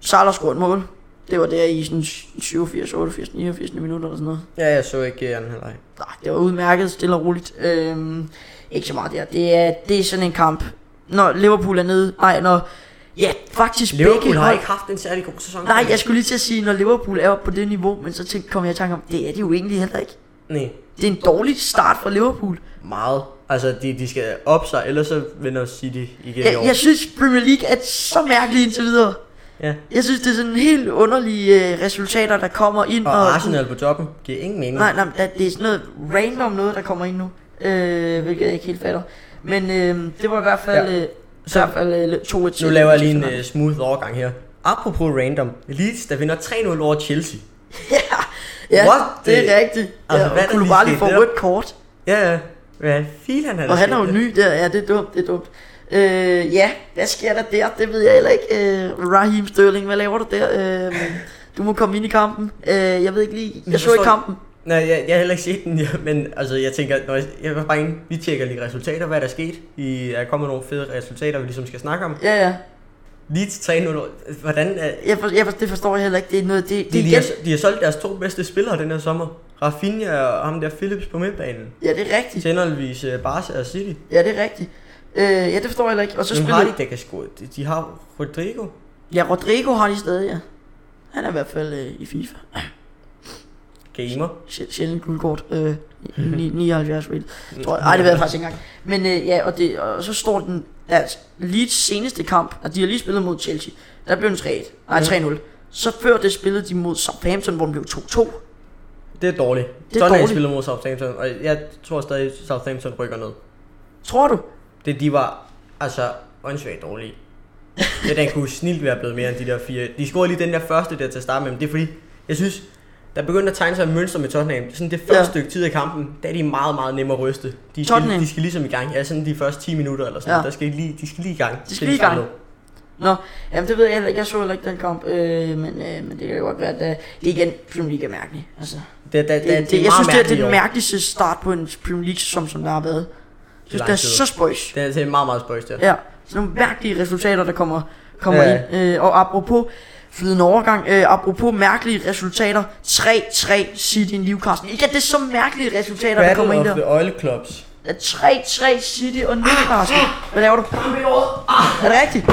Speaker 1: Salah scorer et mål. Det var der i sådan 87, 88, 89 minutter eller sådan noget.
Speaker 2: Ja, jeg så ikke øh, anden halvleg.
Speaker 1: Nej, det var udmærket, stille og roligt. Øhm, ikke så meget der. Det er, det er sådan en kamp. Når Liverpool er nede, nej, når... Ja, faktisk
Speaker 2: Liverpool
Speaker 1: begge
Speaker 2: har
Speaker 1: hold-
Speaker 2: ikke haft en særlig god sæson.
Speaker 1: Nej, jeg skulle lige til at sige, når Liverpool er oppe på det niveau, men så tænkte, kom jeg i tanke om, det er de jo egentlig heller ikke.
Speaker 2: Nej,
Speaker 1: Det er en dårlig start for Liverpool.
Speaker 2: meget. Altså, de, de skal op sig, ellers så vinder City igen i
Speaker 1: Jeg,
Speaker 2: år.
Speaker 1: jeg synes, Premier League er så mærkelig indtil videre.
Speaker 2: Ja.
Speaker 1: Jeg synes, det er sådan helt underlige øh, resultater, der kommer ind.
Speaker 2: Og Arsenal på toppen giver ingen mening.
Speaker 1: Nej, nej, men der- det er sådan noget random noget, der kommer ind nu. Øh, hvilket jeg ikke helt fatter. Men øh, det var i hvert fald,
Speaker 2: Ja.
Speaker 1: ja. øh,
Speaker 2: Så-
Speaker 1: så, i hvert fald øh, 2
Speaker 2: Nu laver jeg lige en uh, smooth overgang her. Apropos random, Leeds der vinder 3-0 over Chelsea.
Speaker 1: Ja,
Speaker 2: What
Speaker 1: det
Speaker 2: the-
Speaker 1: er rigtigt.
Speaker 2: Altså,
Speaker 1: ja,
Speaker 2: hvad
Speaker 1: hvad
Speaker 2: er der
Speaker 1: kunne du
Speaker 2: lige
Speaker 1: bare lige få
Speaker 2: sket der?
Speaker 1: rødt kort.
Speaker 2: Ja, ja. Hvad filan er der
Speaker 1: Og han
Speaker 2: sket
Speaker 1: er jo
Speaker 2: der?
Speaker 1: ny der. Ja, det er dumt, det er dumt. Øh, ja, hvad sker der der? Det ved jeg heller ikke. Øh, Raheem Sterling, hvad laver du der? Øh, du må komme ind i kampen. Øh, jeg ved ikke lige. Jeg så
Speaker 2: forstår
Speaker 1: ikke kampen.
Speaker 2: Nej, jeg, jeg har heller ikke set den, ja, men altså, jeg tænker, når jeg, jeg var bare inde, vi tjekker lige resultater, hvad der er sket. I er kommet nogle fede resultater, vi ligesom skal snakke om.
Speaker 1: Ja, ja.
Speaker 2: Leeds 3-0, hvordan er...
Speaker 1: Jeg for, jeg for, det forstår jeg heller ikke. Det er noget, det,
Speaker 2: De,
Speaker 1: det er
Speaker 2: de, har,
Speaker 1: igen-
Speaker 2: de har solgt deres to bedste spillere den her sommer. Rafinha og ham der Phillips på midtbanen.
Speaker 1: Ja, det er rigtigt.
Speaker 2: Til henholdsvis øh, Barca og City.
Speaker 1: Ja, det er rigtigt. Øh, ja, det forstår jeg heller ikke. Og så
Speaker 2: Hvem har
Speaker 1: spiller
Speaker 2: de, der kan score? De, de har Rodrigo.
Speaker 1: Ja, Rodrigo har de stadig, ja. Han er i hvert fald øh, i FIFA.
Speaker 2: Gamer.
Speaker 1: Sj- Sjældent guldkort. Øh, ni- 79 rated. Tror jeg. Ej, det ved jeg faktisk ikke engang. Men øh, ja, og, det, og så står den deres Leeds seneste kamp, og de har lige spillet mod Chelsea. Der blev den 3-1. Nej, 3-0. Så før det spillede de mod Southampton, hvor den blev 2-2.
Speaker 2: Det er dårligt.
Speaker 1: Det er
Speaker 2: Tottenham
Speaker 1: dårligt.
Speaker 2: spiller mod Southampton, og jeg tror stadig, Southampton rykker ned.
Speaker 1: Tror du?
Speaker 2: Det, de var altså åndssvagt dårlige. Det den kunne snilt være blevet mere end de der fire. De scorede lige den der første der til at starte med, men det er fordi, jeg synes, der begyndte at tegne sig et mønster med Tottenham. Sådan det første
Speaker 1: Ja.
Speaker 2: ja. stykke tid af kampen, der er de meget, meget nemme at ryste. De skal,
Speaker 1: Tottenham?
Speaker 2: de skal ligesom i gang. Ja, sådan de første 10 minutter eller sådan
Speaker 1: Ja.
Speaker 2: ja. Der skal de lige, de skal lige i gang.
Speaker 1: De skal
Speaker 2: til
Speaker 1: lige i gang.
Speaker 2: starter.
Speaker 1: Nå, jamen det ved jeg heller ikke. Jeg så heller ikke den kamp. Øh, men, øh, men det kan jo godt være, at øh, det igen Premier League er mærkeligt. Altså,
Speaker 2: Det, det, det,
Speaker 1: det, det, det, jeg
Speaker 2: meget
Speaker 1: synes, det er, det er
Speaker 2: mærkeligt i år.
Speaker 1: den mærkeligste start på en Premier League, som, som der har været. Jeg synes,
Speaker 2: lang
Speaker 1: det er
Speaker 2: tid.
Speaker 1: så spøjs.
Speaker 2: Det er, det er meget, meget spøjst, ja.
Speaker 1: Ja, sådan nogle mærkelige resultater, der kommer, kommer
Speaker 2: Ja.
Speaker 1: ja. ind. Øh, og apropos flydende overgang, øh, apropos mærkelige resultater, 3-3 City i Newcastle. Ikke at det er så mærkelige resultater, der kommer
Speaker 2: Battle
Speaker 1: ind der.
Speaker 2: of the Oil Clubs.
Speaker 1: Ja, 3-3 City og Newcastle. Hvad laver du? Er det rigtigt?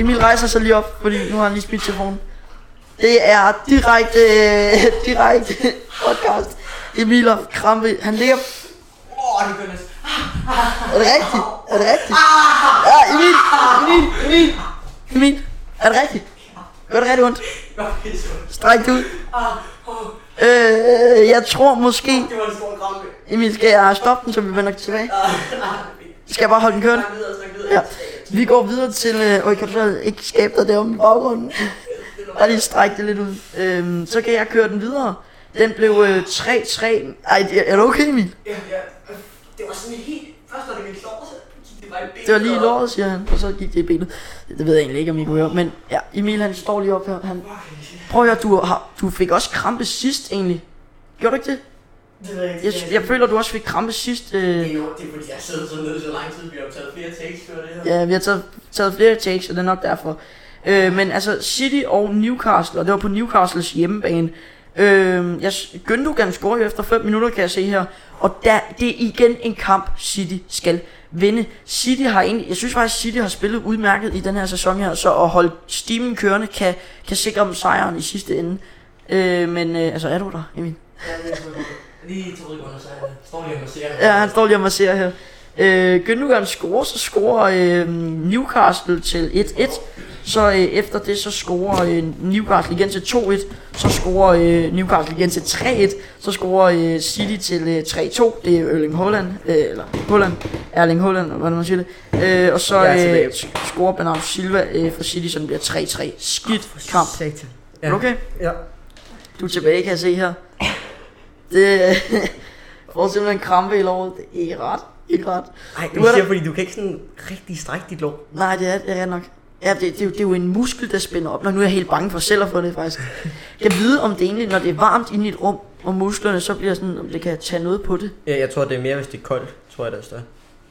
Speaker 1: Emil rejser sig lige op, fordi nu har han lige spidt telefonen. Det er direkte, øh, direkte podcast. Emil og Krampe, han ligger... Er det rigtigt? Er det rigtigt? Ja, Emil, Emil, Emil, Emil, er det rigtigt? Gør det Ah, rigtig ondt? Stræk det ud. Øh, jeg tror måske,
Speaker 2: Det var en stor krampe.
Speaker 1: Emil, skal jeg stoppe den, så vi vender tilbage? Skal jeg bare holde den kørende? Ja.
Speaker 2: Ja.
Speaker 1: Vi går videre til... Øh, øh, kan du så ikke skabe dig deromme i baggrunden? Bare lige strække det lidt ud. Øhm, så kan jeg køre den videre. Den blev øh, 3-3. Ej, det- er du okay, Emil?
Speaker 2: Det var sådan helt... Først var det min lår, så gik det bare i benet.
Speaker 1: Det var lige i låret, siger han, og så gik det i benet. Det ved jeg egentlig ikke, om I kunne høre, men ja, Emil han står lige op her. Han... Prøv at høre, du, har, du fik også krampe sidst egentlig. Gjorde du ikke det?
Speaker 2: Det ved jeg
Speaker 1: Jeg,
Speaker 2: ikke.
Speaker 1: jeg føler, du også fik krampe sidst. Øh...
Speaker 2: Det er jo, det er fordi, jeg sidder sådan nede så lang tid, vi har optaget flere takes før det her.
Speaker 1: Ja, vi har taget, taget flere takes, og det er nok derfor. Øh, men altså, City og Newcastle, og det var på Newcastles hjemmebane. Øh, jeg, s- Gündogan scorer jo efter 5 minutter, kan jeg se her. Og der, det er igen en kamp, City skal vinde. City har egentlig, jeg synes faktisk, City har spillet udmærket i den her sæson her, så at holde stimen kørende kan, kan sikre dem sejren i sidste ende. Øh, men øh, altså, er du der, Emil?
Speaker 2: Lige til rødgrønne, så han står lige og masserer.
Speaker 1: Ja, han står lige og masserer her. Øh, Gündogan scorer, så scorer øh, Newcastle til 1-1. Så øh, efter det, så scorer øh, Newcastle igen til 2-1. Så scorer øh, Newcastle igen til 3-1. Så scorer øh, City til øh, 3-2. Det er Erling Haaland, øh, eller Haaland, Erling Haaland, hvordan man siger det. Øh, og så
Speaker 2: Jeg er tilbage.
Speaker 1: øh, scorer Bernardo Silva øh, for City, så den bliver 3-3. Skidt kamp.
Speaker 2: Satan.
Speaker 1: Er du okay?
Speaker 2: Ja.
Speaker 1: Du er tilbage, kan jeg se her. Det jeg får simpelthen krampe i lovet. Det er ikke ret. Ikke ret.
Speaker 2: Ej,
Speaker 1: Nu
Speaker 2: det
Speaker 1: er der-
Speaker 2: siger, fordi du kan ikke sådan rigtig strække dit lår.
Speaker 1: Nej, det er det er ret nok. Ja, det, det, er jo- det, er jo en muskel, der spænder op. Nå, nu er jeg helt bange for selv at få det, faktisk. Jeg vide, om det egentlig, når det er varmt inde i et rum, og musklerne, så bliver sådan, om det kan tage noget på det.
Speaker 2: Ja, jeg tror, det er mere, hvis det er koldt, tror jeg, der er større.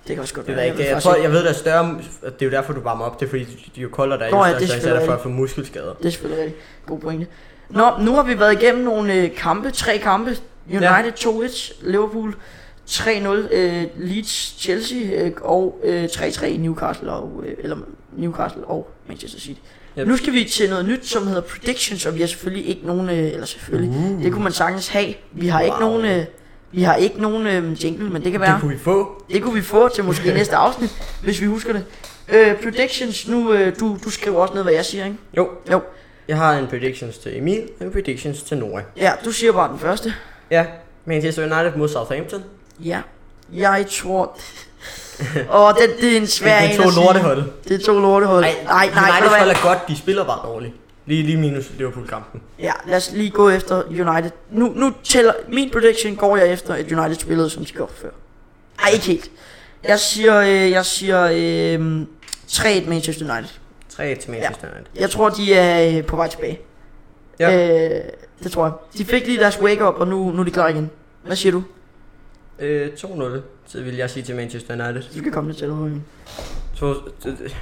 Speaker 1: Det kan også godt
Speaker 2: Det
Speaker 1: være.
Speaker 2: er ikke,
Speaker 1: ved
Speaker 2: jeg,
Speaker 1: faktisk
Speaker 2: tror, jeg ved, der er større, at det er jo derfor, du varmer op. Det er fordi, de- de er jo koldere, der er
Speaker 1: Nå,
Speaker 2: jo
Speaker 1: ja,
Speaker 2: større
Speaker 1: det
Speaker 2: chance, er
Speaker 1: spiller
Speaker 2: der for at
Speaker 1: ind.
Speaker 2: få muskelskader.
Speaker 1: Det er selvfølgelig rigtigt. God pointe. Nå, nu har vi været igennem nogle øh, kampe. Tre kampe. United 2-1, Liverpool 3-0, øh, Leeds, Chelsea øh, og øh, 3-3 Newcastle og, øh, eller Newcastle og Manchester City.
Speaker 2: Yep.
Speaker 1: Yep. Nu skal vi til noget nyt, som hedder predictions, og vi har selvfølgelig ikke nogen, øh, eller selvfølgelig, uh. det kunne man sagtens have. Vi har wow. ikke
Speaker 2: Wow.
Speaker 1: nogen, øh, vi har ikke nogen øh, jingle, men det kan være.
Speaker 2: Det kunne vi få.
Speaker 1: Det kunne vi få til måske næste afsnit, hvis vi husker det. Øh, predictions, nu, øh, du, du skriver også ned, hvad jeg siger, ikke?
Speaker 2: Jo,
Speaker 1: Jo.
Speaker 2: jeg har en predictions til Emil, og en predictions til Nora.
Speaker 1: Ja, du siger bare den første.
Speaker 2: Ja, Manchester United mod Southampton.
Speaker 1: Ja. Jeg tror... Åh, det, det er en svær
Speaker 2: Det
Speaker 1: en
Speaker 2: er to
Speaker 1: at sige.
Speaker 2: lortehold.
Speaker 1: Det er to lortehold. Nej, nej, nej. ved
Speaker 2: Uniteds
Speaker 1: du
Speaker 2: hold
Speaker 1: hvad?
Speaker 2: er godt, de spiller bare dårligt. Lige, lige minus Liverpool-kampen.
Speaker 1: Ja, lad os lige gå efter United. Nu, nu tæller... Min prediction går jeg efter, at United spillede, som de gjorde før. Ej, ikke helt. Jeg siger... Øh, jeg siger... Øh, 3-1 Manchester United.
Speaker 2: 3 til Manchester United.
Speaker 1: Jeg tror, de er øh, på vej tilbage.
Speaker 2: Ja.
Speaker 1: Øh, det tror jeg. De fik lige deres wake-up, og nu, nu er de klar igen. Hvad siger du?
Speaker 2: Øh, 2-0, så vil jeg sige til Manchester United.
Speaker 1: Du skal komme lidt til at
Speaker 2: Så, det, det,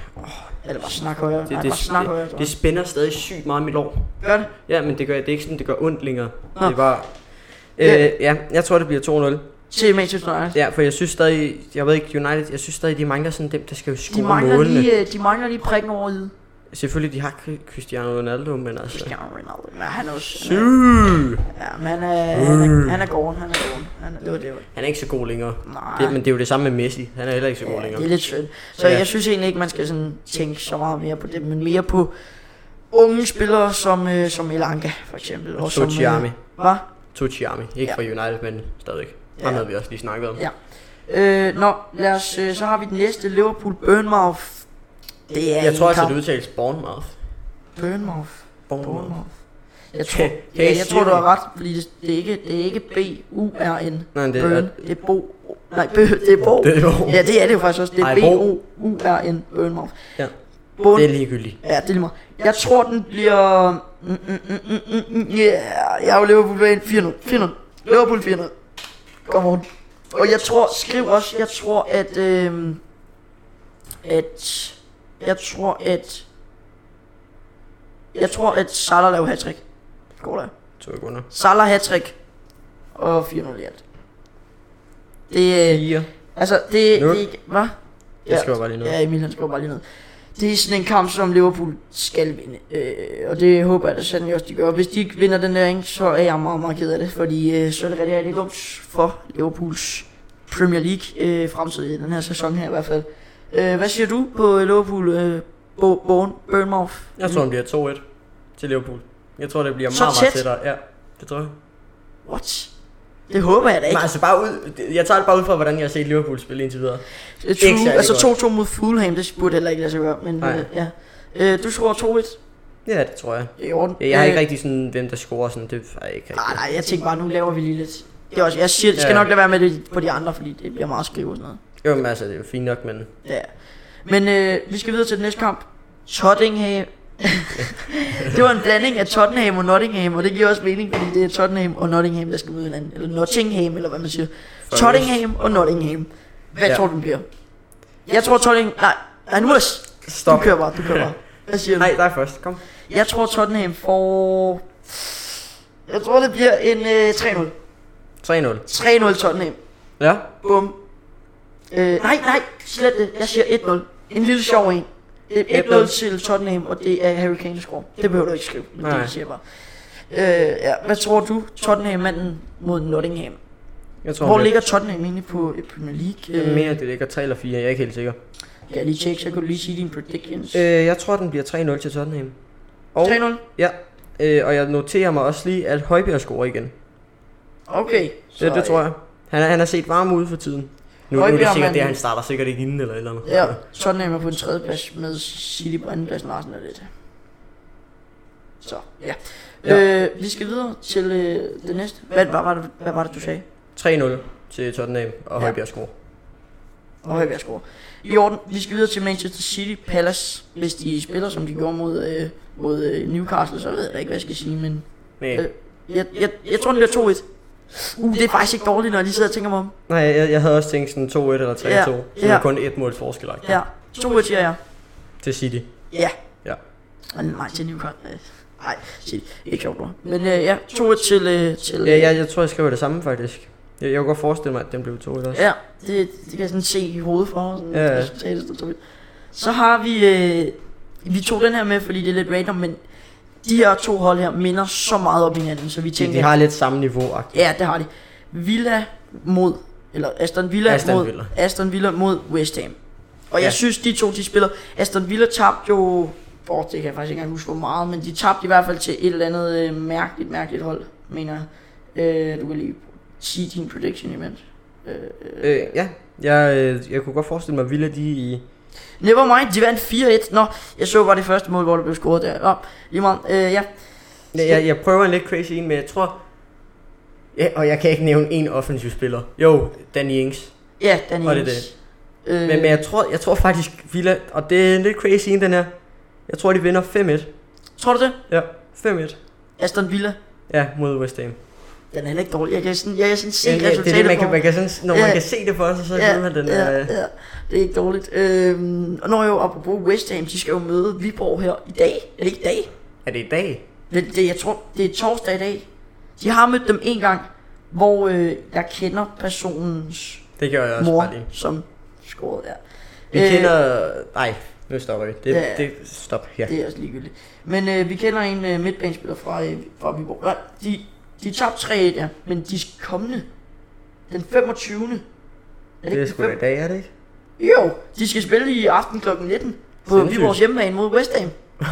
Speaker 1: Eller bare snak højere. Det,
Speaker 2: det,
Speaker 1: Nej,
Speaker 2: det,
Speaker 1: bare snak højere.
Speaker 2: det, det spænder stadig sygt meget mit lår.
Speaker 1: Gør det.
Speaker 2: Ja, men det gør, det er ikke sådan, det gør ondt længere.
Speaker 1: Nå.
Speaker 2: Det er bare... Øh,
Speaker 1: Ja.
Speaker 2: ja, jeg tror, det bliver 2-0.
Speaker 1: Til Manchester United.
Speaker 2: Ja, for jeg synes stadig, jeg ved ikke, United, jeg synes stadig, de mangler sådan dem, der skal jo score
Speaker 1: De mangler,
Speaker 2: målene.
Speaker 1: lige, øh, de mangler lige prikken over i.
Speaker 2: Selvfølgelig, de har Cri- Cristiano Ronaldo, men altså...
Speaker 1: Cristiano Ronaldo. Men han er også... Han er,
Speaker 2: Syg!
Speaker 1: ja, men han er, han er, han er gården. Han er gården. Han er, det var det, var.
Speaker 2: Han er ikke så god længere.
Speaker 1: Nej.
Speaker 2: Det, men det er jo det samme med Messi. Han er heller ikke så god
Speaker 1: Ja,
Speaker 2: længere.
Speaker 1: det er lidt synd. Så
Speaker 2: Ja.
Speaker 1: jeg synes egentlig ikke, man skal sådan tænke så meget mere på det, men mere på unge spillere som, øh, som Elanga, for eksempel. Og som, øh,
Speaker 2: Tochiami.
Speaker 1: hvad?
Speaker 2: Tuchiami. Ikke ja. fra United, men stadigvæk. Ham
Speaker 1: Ja.
Speaker 2: havde vi også lige snakket om.
Speaker 1: Ja. Øh, nå, lad os, øh, så har vi den næste, Liverpool Burnmouth. Det er
Speaker 2: Jeg
Speaker 1: en
Speaker 2: tror også,
Speaker 1: kamp.
Speaker 2: at det udtales Bournemouth.
Speaker 1: Burnmouth.
Speaker 2: Bournemouth.
Speaker 1: Jeg tror,
Speaker 2: Kan- kan
Speaker 1: ja,
Speaker 2: I
Speaker 1: jeg
Speaker 2: sige
Speaker 1: tror du
Speaker 2: det?
Speaker 1: har ret, fordi det, det, er ikke, det er ikke B-U-R-N.
Speaker 2: Nej, det er-
Speaker 1: Burn. Det er Bo. Nej, Bø, det er Bo.
Speaker 2: Det er Bo.
Speaker 1: Ja, det er det jo faktisk også. Det er
Speaker 2: Ej, Bo.
Speaker 1: B-O-U-R-N. Burnmouth.
Speaker 2: Ja.
Speaker 1: Bund.
Speaker 2: Det er ligegyldigt.
Speaker 1: Ja, det er lige meget. Jeg tror, den bliver... Mm, mm, mm, mm, mm, mm, yeah. Jeg er jo Liverpool fan. 4-0. 4-0. Liverpool 4-0. Come on. Og jeg tror, skriv også, jeg tror, at... øhm, at... Jeg tror, at... Jeg tror, at Salah laver hattrick. Går der?
Speaker 2: To sekunder.
Speaker 1: Salah hattrick Og 4-0 i alt. Det, øh,
Speaker 2: Fire.
Speaker 1: altså, det,
Speaker 2: Nul.
Speaker 1: det er ikke... Hvad?
Speaker 2: Jeg skriver bare lige noget.
Speaker 1: Ja, Emil han skriver bare lige ned. Det er sådan en kamp, som Liverpool skal vinde. Øh, og det håber jeg da sandelig også, de gør. Hvis de ikke vinder den der, ikke, så er jeg meget, meget ked af det. Fordi øh, så er det rigtig, rigtig dumt for Liverpools Premier League øh, fremtid i den her sæson her i hvert fald. Øh, hvad siger du på Liverpool øh, Bo- Born, Burnmouth?
Speaker 2: Jeg tror, det bliver 2-1 til Liverpool. Jeg tror, det bliver
Speaker 1: Så
Speaker 2: meget,
Speaker 1: tæt?
Speaker 2: meget tættere. Ja, det tror jeg.
Speaker 1: What? Det håber jeg da ikke.
Speaker 2: Men altså bare ud, jeg tager det bare ud fra, hvordan jeg har set Liverpool spille indtil videre.
Speaker 1: Øh,
Speaker 2: ikke
Speaker 1: True,
Speaker 2: særlig
Speaker 1: altså
Speaker 2: godt.
Speaker 1: 2-2 mod Fulham, det burde heller ikke lade sig gøre. Men
Speaker 2: Nej.
Speaker 1: øh, ja. Øh, du tror 2-1.
Speaker 2: Ja, det tror jeg.
Speaker 1: Det er i orden.
Speaker 2: Jeg, jeg har
Speaker 1: Øh,
Speaker 2: ikke rigtig sådan, hvem der scorer sådan, det har jeg ikke rigtig.
Speaker 1: Nej, Ah, nej, jeg tænkte bare, nu laver vi lige lidt. Det er også, jeg siger, det skal
Speaker 2: Ja.
Speaker 1: nok lade være med det på de andre, fordi det bliver meget skrive og sådan noget.
Speaker 2: Jo, men altså, det er jo fint nok, men
Speaker 1: Ja. Men øh, vi skal videre til den næste kamp. Tottenham. det var en blanding af Tottenham og Nottingham, og det giver også mening, fordi det er Tottenham og Nottingham, der skal møde hinanden. Eller Nottingham, eller hvad man siger.
Speaker 2: Forrest.
Speaker 1: Tottenham og Nottingham. Hvad
Speaker 2: Ja.
Speaker 1: tror du, den bliver? Jeg tror Tottenham... Nej, nej, nu er s- Du
Speaker 2: stop.
Speaker 1: kører bare, du kører bare. Hvad siger du?
Speaker 2: Nej, dig først, kom.
Speaker 1: Jeg tror Tottenham får... Jeg tror, det bliver en øh, 3-0.
Speaker 2: 3-0.
Speaker 1: 3-0 Tottenham.
Speaker 2: Ja,
Speaker 1: Bum. Øh, nej, nej, slet det. Jeg siger 1-0. En lille sjov en. Det er 1-0 til Tottenham, og det er Harry Kane der scorer. Det behøver du ikke skrive, men
Speaker 2: Nej.
Speaker 1: det siger jeg bare. Øh, ja, hvad tror du, Tottenham-manden mod Nottingham?
Speaker 2: Jeg tror,
Speaker 1: Hvor
Speaker 2: mere-
Speaker 1: ligger Tottenham egentlig på øh, Premier League?
Speaker 2: Øh,
Speaker 1: Øh,
Speaker 2: Mere, det ligger 3 eller 4, jeg er ikke helt sikker.
Speaker 1: Kan jeg lige tjekke, så kan du lige sige din predictions. Øh,
Speaker 2: Øh, jeg tror, den bliver 3-0 til Tottenham. Og,
Speaker 1: 3-0?
Speaker 2: ja, øh, og jeg noterer mig også lige, at Højbjerg scorer igen.
Speaker 1: Okay.
Speaker 2: Det, det tror jeg. Han, er- han har set varm ude for tiden. Nu, nu er det
Speaker 1: Højbjerg,
Speaker 2: sikkert det,
Speaker 1: mand.
Speaker 2: han starter sikkert ikke inden eller et eller andet.
Speaker 1: Ja, Tottenham er på en tredjeplads med City på andenpladsen og Arsenal lidt. Så, ja. ja. Øh, vi skal videre til øh, det næste. Hvad, hvad, var det, hvad var det, du sagde?
Speaker 2: 3-0 til Tottenham, og
Speaker 1: Ja.
Speaker 2: Højbjerg scorer.
Speaker 1: Og Højbjerg score. I orden, vi skal videre til Manchester City Palace. Hvis de spiller, som de gjorde mod, øh, mod øh, Newcastle, så ved jeg da ikke, hvad jeg skal sige, men...
Speaker 2: Nej,
Speaker 1: Øh, jeg, jeg, jeg tror, den bliver 2-1. Uh, det er faktisk ikke dårligt, når jeg lige sidder og tænker mig om.
Speaker 2: nej jeg, jeg havde også tænkt sådan 2-1 eller 3-2.
Speaker 1: Ja,
Speaker 2: Så det
Speaker 1: ja.
Speaker 2: var kun et mål forskel ikke?
Speaker 1: Ja, 2-1 siger jeg.
Speaker 2: til City.
Speaker 1: Ja.
Speaker 2: Ja.
Speaker 1: Og nej, til Newcastle. Øh, Nej, City. Ikke sjovt, bror. Men øh, ja, 2-1 til... Øh, til øh,
Speaker 2: Ja, jeg, jeg tror, jeg skriver det samme faktisk. Jeg, jeg kunne godt forestille mig, at den blev 2-1 også.
Speaker 1: Ja, det, det kan jeg sådan se i hovedet for mig, sådan
Speaker 2: Ja, ja.
Speaker 1: resultatet, der tog ud. Så har vi, øh, vi tog den her med, fordi det er lidt random, men de her to hold her minder så meget om hinanden, så vi
Speaker 2: De,
Speaker 1: tænker,
Speaker 2: de har lidt samme niveau -agtigt.
Speaker 1: ja, det har de. Villa mod, eller Aston Villa
Speaker 2: Aston
Speaker 1: mod,
Speaker 2: Villa.
Speaker 1: Aston Villa mod West Ham. Og
Speaker 2: Ja.
Speaker 1: jeg synes, de to, de spiller, Aston Villa tabte jo, åh, det kan jeg faktisk ikke engang huske, hvor meget, men de tabte i hvert fald til et eller andet øh, mærkeligt, mærkeligt hold, mener jeg. Øh, du kan lige sige din prediction imens.
Speaker 2: Øh, ja, jeg, øh, jeg kunne godt forestille mig, at Villa de i...
Speaker 1: Never mind, de vandt 4-1. Nå, jeg så bare det første mål, hvor der blev scoret der. Nå, lige meget. Øh, ja.
Speaker 2: Jeg, jeg, jeg prøver en lidt crazy en, men jeg tror... Ja, og jeg kan ikke nævne en offensiv spiller. Jo, Danny Ings.
Speaker 1: Ja, Danny
Speaker 2: Var det
Speaker 1: Ings. Øh,
Speaker 2: Men, men jeg, tror, jeg tror faktisk Villa, og det er en lidt crazy en, den her. Jeg tror, de vinder 5-1.
Speaker 1: Tror du det?
Speaker 2: Ja, 5-1.
Speaker 1: Aston Villa.
Speaker 2: Ja, mod West Ham.
Speaker 1: Den er heller ikke dårlig. Jeg kan sådan, jeg kan sådan se
Speaker 2: Ja, ja, det er det,
Speaker 1: resultatet
Speaker 2: man kan,
Speaker 1: på-
Speaker 2: man kan sådan, når
Speaker 1: Ja.
Speaker 2: man kan se det for sig, så ved man, den
Speaker 1: ja,
Speaker 2: er... øh,
Speaker 1: ja, det er ikke dårligt. Øhm, og når jeg jo apropos West Ham, de skal jo møde Viborg her i dag. Er det ikke i dag?
Speaker 2: Er det i dag?
Speaker 1: Men det, jeg tror, det er torsdag i dag. De har mødt dem en gang, hvor øh, jeg kender personens
Speaker 2: Det gør jeg også
Speaker 1: mor,
Speaker 2: bare lige.
Speaker 1: som scorede der.
Speaker 2: Vi
Speaker 1: Øh,
Speaker 2: kender... Nej, nu stopper vi. Det,
Speaker 1: ja.
Speaker 2: det, stop her.
Speaker 1: Det er også ligegyldigt. Men øh, vi kender en øh, midtbanespiller fra, øh, fra Viborg. Nej, de, de tabte 3 ja. Men de kommende, den 25. Er det,
Speaker 2: Det er
Speaker 1: den
Speaker 2: sgu da
Speaker 1: fem-
Speaker 2: i dag, er det ikke?
Speaker 1: Jo, de skal spille i aften kl. 19 på
Speaker 2: Sindssygt.
Speaker 1: Viborgs hjemmebane mod West Ham.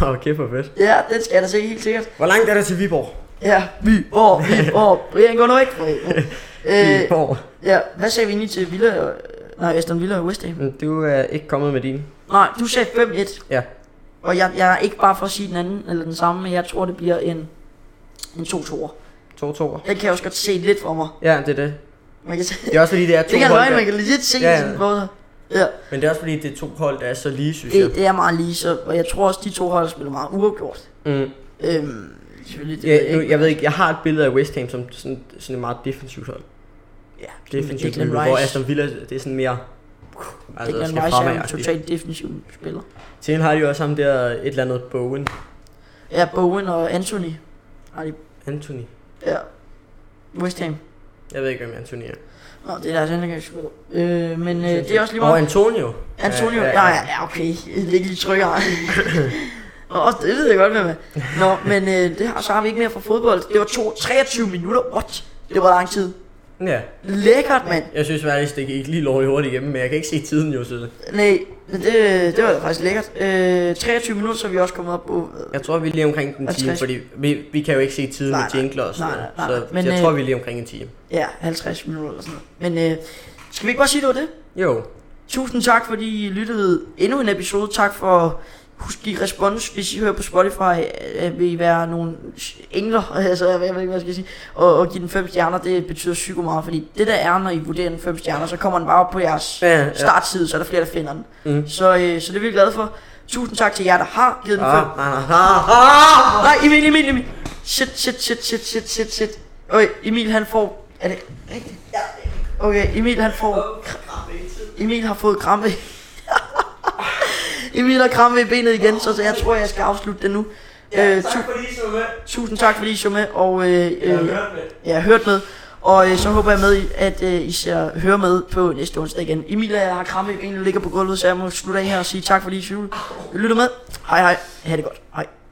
Speaker 2: Åh, kæft hvor fedt.
Speaker 1: Ja, den skal jeg da se helt sikkert.
Speaker 2: Hvor langt er der til Viborg?
Speaker 1: Ja, Viborg, Viborg. Brian går nu ikke fra øh,
Speaker 2: Viborg.
Speaker 1: ja, hvad sagde vi egentlig til Villa? og- Nej, Aston Villa og West Ham.
Speaker 2: Men Du er ikke kommet med din.
Speaker 1: Nej, du sagde 5-1.
Speaker 2: Ja.
Speaker 1: Og jeg, jeg er ikke bare for at sige den anden eller den samme, men jeg tror, det bliver en, en 2-2'er.
Speaker 2: 2-2'er.
Speaker 1: Den kan jeg også godt se lidt for mig.
Speaker 2: Ja, det er det.
Speaker 1: Man kan se,
Speaker 2: Det er også fordi, det er to
Speaker 1: det kan
Speaker 2: hold,
Speaker 1: løgn, man
Speaker 2: der,
Speaker 1: kan legit se
Speaker 2: Ja,
Speaker 1: ja,
Speaker 2: ja.
Speaker 1: sådan både. Ja,
Speaker 2: men det er også fordi, det er to hold, der er så lige, synes jeg.
Speaker 1: det, det, er meget lige så, og jeg tror også, de to hold spiller meget uafgjort.
Speaker 2: Mm.
Speaker 1: Øhm, selvfølgelig, det
Speaker 2: Ja,
Speaker 1: ved jeg
Speaker 2: nu,
Speaker 1: ikke.
Speaker 2: jeg ved ikke, jeg har et billede af West Ham som sådan, sådan et meget defensivt hold.
Speaker 1: Ja,
Speaker 2: Defensivt,
Speaker 1: Declan
Speaker 2: hold, hvor
Speaker 1: Rice.
Speaker 2: Aston Villa, det er sådan mere... Altså,
Speaker 1: Declan
Speaker 2: skal
Speaker 1: Rice er jo en
Speaker 2: fremad.
Speaker 1: totalt defensiv spiller.
Speaker 2: Til har de jo også ham der, et eller andet Bowen.
Speaker 1: Ja, Bowen og Anthony. Har de,
Speaker 2: Anthony.
Speaker 1: ja. West Ham.
Speaker 2: Jeg ved ikke, hvem Anthony er.
Speaker 1: Nå, det er deres anlægningsspiller. Øh, men øh, det er også lige
Speaker 2: Og
Speaker 1: meget.
Speaker 2: Antonio.
Speaker 1: Antonio, ja, ja, ja, okay. Det er ikke lige trykker. Og også, det ved jeg godt, hvem er. Nå, men øh, det har, så har vi ikke mere fra fodbold. Det var to, 23 minutter. What? Det var lang tid.
Speaker 2: ja.
Speaker 1: Lækkert, mand.
Speaker 2: Jeg synes faktisk, det gik lige lovligt hurtigt igennem, men jeg kan ikke se tiden jo, så
Speaker 1: Nej, men det, det var da faktisk lækkert. Øh, 23 minutter, så er vi også kommet op på... Øh,
Speaker 2: Jeg tror, vi er lige omkring en time,
Speaker 1: 50.
Speaker 2: fordi vi, vi kan jo ikke se tiden
Speaker 1: Nej,
Speaker 2: med
Speaker 1: nej.
Speaker 2: jingler og sådan
Speaker 1: Nej, nej,
Speaker 2: noget.
Speaker 1: nej,
Speaker 2: Så
Speaker 1: men,
Speaker 2: jeg
Speaker 1: øh,
Speaker 2: tror, vi er lige omkring en time.
Speaker 1: ja, 50 minutter eller sådan noget. Men øh, skal vi ikke bare sige, det var det?
Speaker 2: Jo,
Speaker 1: Tusind tak, fordi I lyttede endnu en episode. Tak for Husk give respons, hvis I hører på Spotify, øh, vil I være nogle engler, altså jeg ved ikke, hvad jeg skal sige, og, og give den 5 stjerner, det betyder psyko meget, fordi det der er, når I vurderer den 5 stjerner, så kommer den bare op på jeres
Speaker 2: Ja, ja.
Speaker 1: startside, så er der flere, der finder den.
Speaker 2: Mm.
Speaker 1: Så, øh, så det er vi glade for. Tusind tak til jer, der har givet den 5
Speaker 2: Ah, ah, ah, ah.
Speaker 1: Nej, Emil, Emil, Emil. Shit, shit, shit, shit, shit, shit, shit. Okay, Emil han får... Er det rigtigt? Ja. Okay, Emil han får... Emil har fået krampe. i- Emil har krampe i benet igen, så så jeg tror, jeg skal afslutte det nu. Øh, tu-
Speaker 2: fordi I så med.
Speaker 1: tusind tak, fordi I så med, og øh, øh,
Speaker 2: med.
Speaker 1: jeg har hørt med. Og øh, så håber jeg med, i, at øh, I ser hører med på næste onsdag igen. Emil øh, har krampe i benet, ligger på gulvet, så jeg må slutte af her og sige tak, fordi I lyttede med. Hej hej, ha' det godt. Hej.